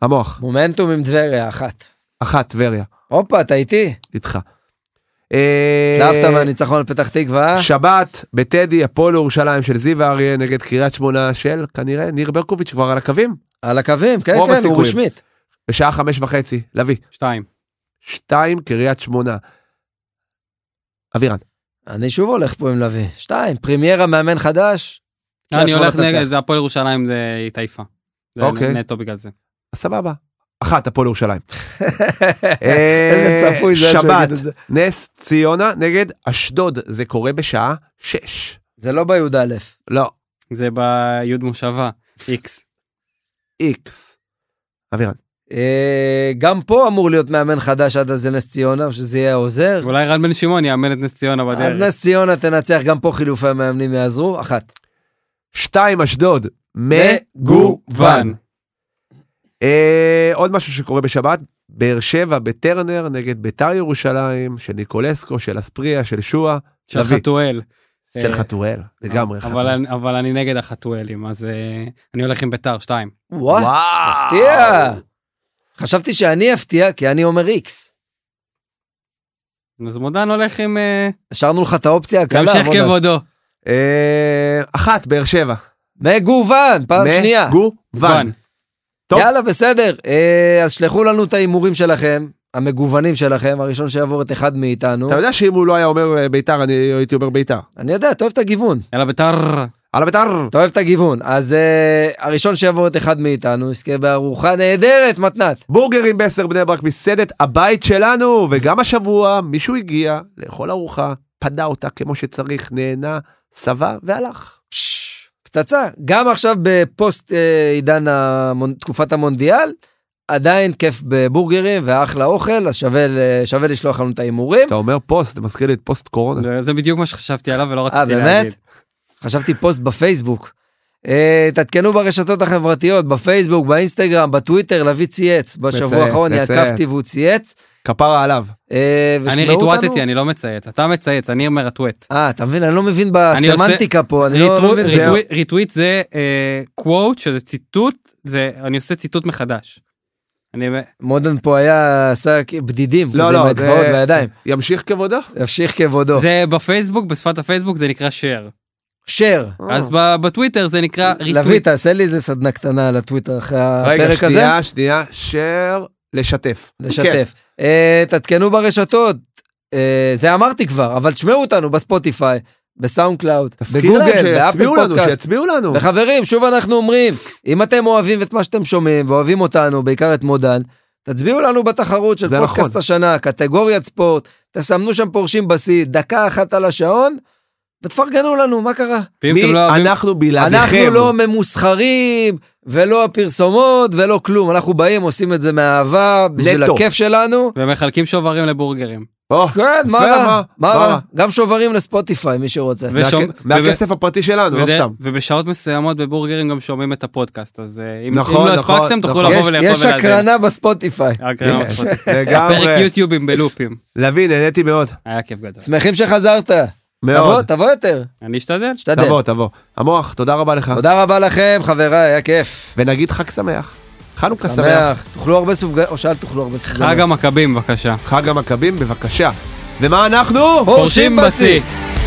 S1: המוח.
S2: מומנטום עם טבריה, אחת.
S1: אחת, טבריה.
S2: הופה, אתה איתי?
S1: איתך. אה,
S2: התלהבת מהניצחון על פתח תקווה? אה?
S1: שבת בטדי הפועל ירושלים של זיו אריה נגד קריית שמונה של כנראה ניר ברקוביץ' כבר על הקווים
S2: על הקווים, כן,
S1: רוב
S2: כן, הוא
S1: הסיכויים.
S2: רשמית.
S1: בשעה חמש וחצי לביא
S3: שתיים.
S1: שתיים קריית שמונה. אבירן
S2: אני שוב הולך פה עם לביא. שתיים, פרימיירה מאמן
S1: <laughs>
S2: חדש.
S3: אני
S2: קריית כן, שמונה
S3: הולך
S2: תנצח.
S3: נגד, זה הפועל ירושלים, זה היא התעייפה. זה
S1: אוקיי.
S3: נטו בגלל זה.
S1: אז סבבה אחת הפועל ירושלים. אה,
S2: <laughs> איזה צפוי זה היה שהוא
S1: שבת
S2: יגיד את זה.
S1: נס ציונה נגד אשדוד זה קורה בשעה שש.
S2: זה לא בי"א.
S1: לא
S3: זה ביוד מושבה,
S2: <laughs>
S3: איקס.
S1: איקס. אבירן
S2: אה, גם פה אמור להיות מאמן חדש עד אז לנס ציונה, או שזה יהיה עוזר.
S3: אולי רן בן שמעון יאמן את נס ציונה
S1: לא
S2: אז
S3: בדרך.
S2: נס ציונה תנצח, גם פה חילופי המאמנים יעזרו, אחת.
S1: שתיים אשדוד
S2: מגוון.
S1: מגוון. אה, עוד משהו שקורה בשבת, באר שבע בטרנר נגד ביתר ירושלים, של ניקולסקו, של אספריה, של שואה,
S3: של
S1: לביא.
S3: חתואל.
S1: של
S3: אה,
S1: חתואל, לגמרי.
S3: אבל
S1: חתואל.
S3: אני- אבל אני נגד החתואלים, אז אה, אני הולך עם ביתר, שתיים.
S2: וואו, מפתיע. חשבתי שאני אפתיע, כי אני אומר איקס.
S3: אז מודן הולך עם... אה,
S2: השארנו לך את האופציה הקלה.
S3: להמשך
S2: עמודה.
S3: כבודו.
S1: אה, אחת, באר שבע.
S2: מגוון, פעם שנייה.
S1: מגוון. טוב.
S2: יאללה, בסדר. אה, אז שלחו לנו את ההימורים שלכם. המגוונים שלכם, הראשון שיעבור את אחד מאיתנו.
S1: אתה יודע שאם הוא לא היה אומר אה, ביתר, אני הייתי אומר ביתר.
S2: אני יודע, אתה אוהב את הגיוון.
S3: יאללה ביתר.
S1: על הביתר!
S2: אתה אוהב את הגיוון. אז אה, הראשון שיעבור את אחד מאיתנו יזכה בארוחה נהדרת, מתנת.
S1: בורגרים בעשר בני ברק, מסעדת הבית שלנו, וגם השבוע מישהו הגיע לאכול ארוחה, פדה אותה כמו שצריך, נהנה, שבע והלך.
S2: פש, פצצה. גם עכשיו בפוסט אה, עידן המונ... תקופת המונדיאל, עדיין כיף בבורגרים ואחלה אוכל, אז שווה, ל- שווה לשלוח לנו את ההימורים.
S1: אתה אומר פוסט, זה מזכיר לי את פוסט
S2: לא.
S1: קורונה.
S3: זה בדיוק מה שחשבתי עליו ולא
S2: אה,
S3: רציתי להגיד.
S2: באמת? חשבתי פוסט בפייסבוק. אה, תעדכנו ברשתות החברתיות, בפייסבוק, באינסטגרם, בטוויטר, לביא צייץ. בשבוע
S1: מצייץ,
S2: האחרון אני
S1: מצייץ.
S2: עקבתי והוא צייץ.
S1: כפרה עליו.
S2: אה,
S3: אני
S2: ושמעו אותנו.
S3: ריטווטתי, אני לא מצייץ, אתה מצייץ, אני אומר רטווט.
S2: אה, אתה מבין? אני לא מבין
S3: אני עושה-
S2: בסמנטיקה פה, אני לא לא
S3: ריטווט-
S2: מבין. זה-
S3: ריטווט- ריטווט זה קוואט, שזה ציטוט, זה, אני עושה ציטוט מחדש. אני,
S2: מודן פה היה עשה כ- בדידים,
S1: לא,
S2: כזה עם
S1: לא,
S2: האצבעות
S1: זה-
S2: והידיים.
S1: ימשיך כבודו?
S2: ימשיך כבודו.
S3: זה בפייסבוק, בשפת הפייסבוק זה נקרא share.
S2: שר.
S3: אז ב- בטוויטר זה נקרא
S2: אה. לביא,
S3: ריטווט.
S2: תעשה לי איזה סדנה קטנה על הטוויטר אחרי
S1: רגע,
S2: הפרק הזה.
S1: שנייה, שנייה, שר, לשתף. כן.
S2: לשתף. אה, תעדכנו ברשתות, אה, זה אמרתי כבר, אבל תשמעו אותנו בספוטיפיי, בסאונד קלאוד,
S1: תזכיר להם
S2: בגוגל, באפל
S1: שיצביעו לנו,
S2: פודקאסט.
S1: שיצביעו לנו.
S2: וחברים, שוב אנחנו אומרים, אם אתם אוהבים את מה שאתם שומעים ואוהבים אותנו, בעיקר את מודן, תצביעו לנו בתחרות של
S1: זה
S2: פודקאסט
S1: נכון.
S2: השנה, קטגוריית ספורט, תסמנו שם פורשים בשיא, דקה אחת על השעון, ותפרגנו לנו, מה קרה?
S3: ואם
S1: מי
S3: אתם לא אוהבים-
S1: אנחנו
S2: אנחנו
S1: בלעדיכם.
S2: לא ממוסחרים, ולא הפרסומות, ולא כלום. אנחנו באים, עושים את זה מאהבה, בשביל
S1: נטו.
S2: הכיף שלנו.
S3: ומחלקים שוברים לבורגרים.
S1: או,
S2: כן, מה
S1: יפה,
S2: רע? מה רע?
S1: רע?
S2: גם שוברים לספוטיפיי, מי שרוצה.
S3: ו- ושום-
S1: מהכ- מהכסף הפרטי שלנו, לא
S3: ודה-
S1: סתם.
S3: ובשעות מסוימות בבורגרים גם שומעים את הפודקאסט, אז אה, אם אם
S1: נכון,
S3: לא
S1: נכון,
S3: הספקתם תוכלו
S1: נכון.
S3: לבוא
S2: יש-
S3: ולאכול ולהזין.
S2: יש הקרנה בספוטיפיי.
S3: הקרנה
S1: יש,
S3: בספוטיפיי. פרק
S1: כן. <laughs> לגמרי.
S3: יוטיובים בלופים.
S1: לוין, נהניתי מאוד.
S3: היה כיף גדול.
S2: שמחים שחזרת. תבוא,
S1: מאוד.
S2: תבוא יותר.
S3: אני אשתדל.
S2: תשתדל.
S1: תבוא, תבוא. המוח, תודה רבה לך.
S2: תודה רבה לכם, חבריי, היה כיף.
S1: ונגיד חג שמח. חנוכה שמח.
S2: שמח. תאכלו הרבה סופגניות, או שאל תאכלו הרבה
S1: נכון.
S2: סופגניות.
S3: חג המכבים בבקשה.
S1: חג המכבים, בבקשה. ומה אנחנו?
S2: פורשים בשיא.
S3: פורשים בשיא.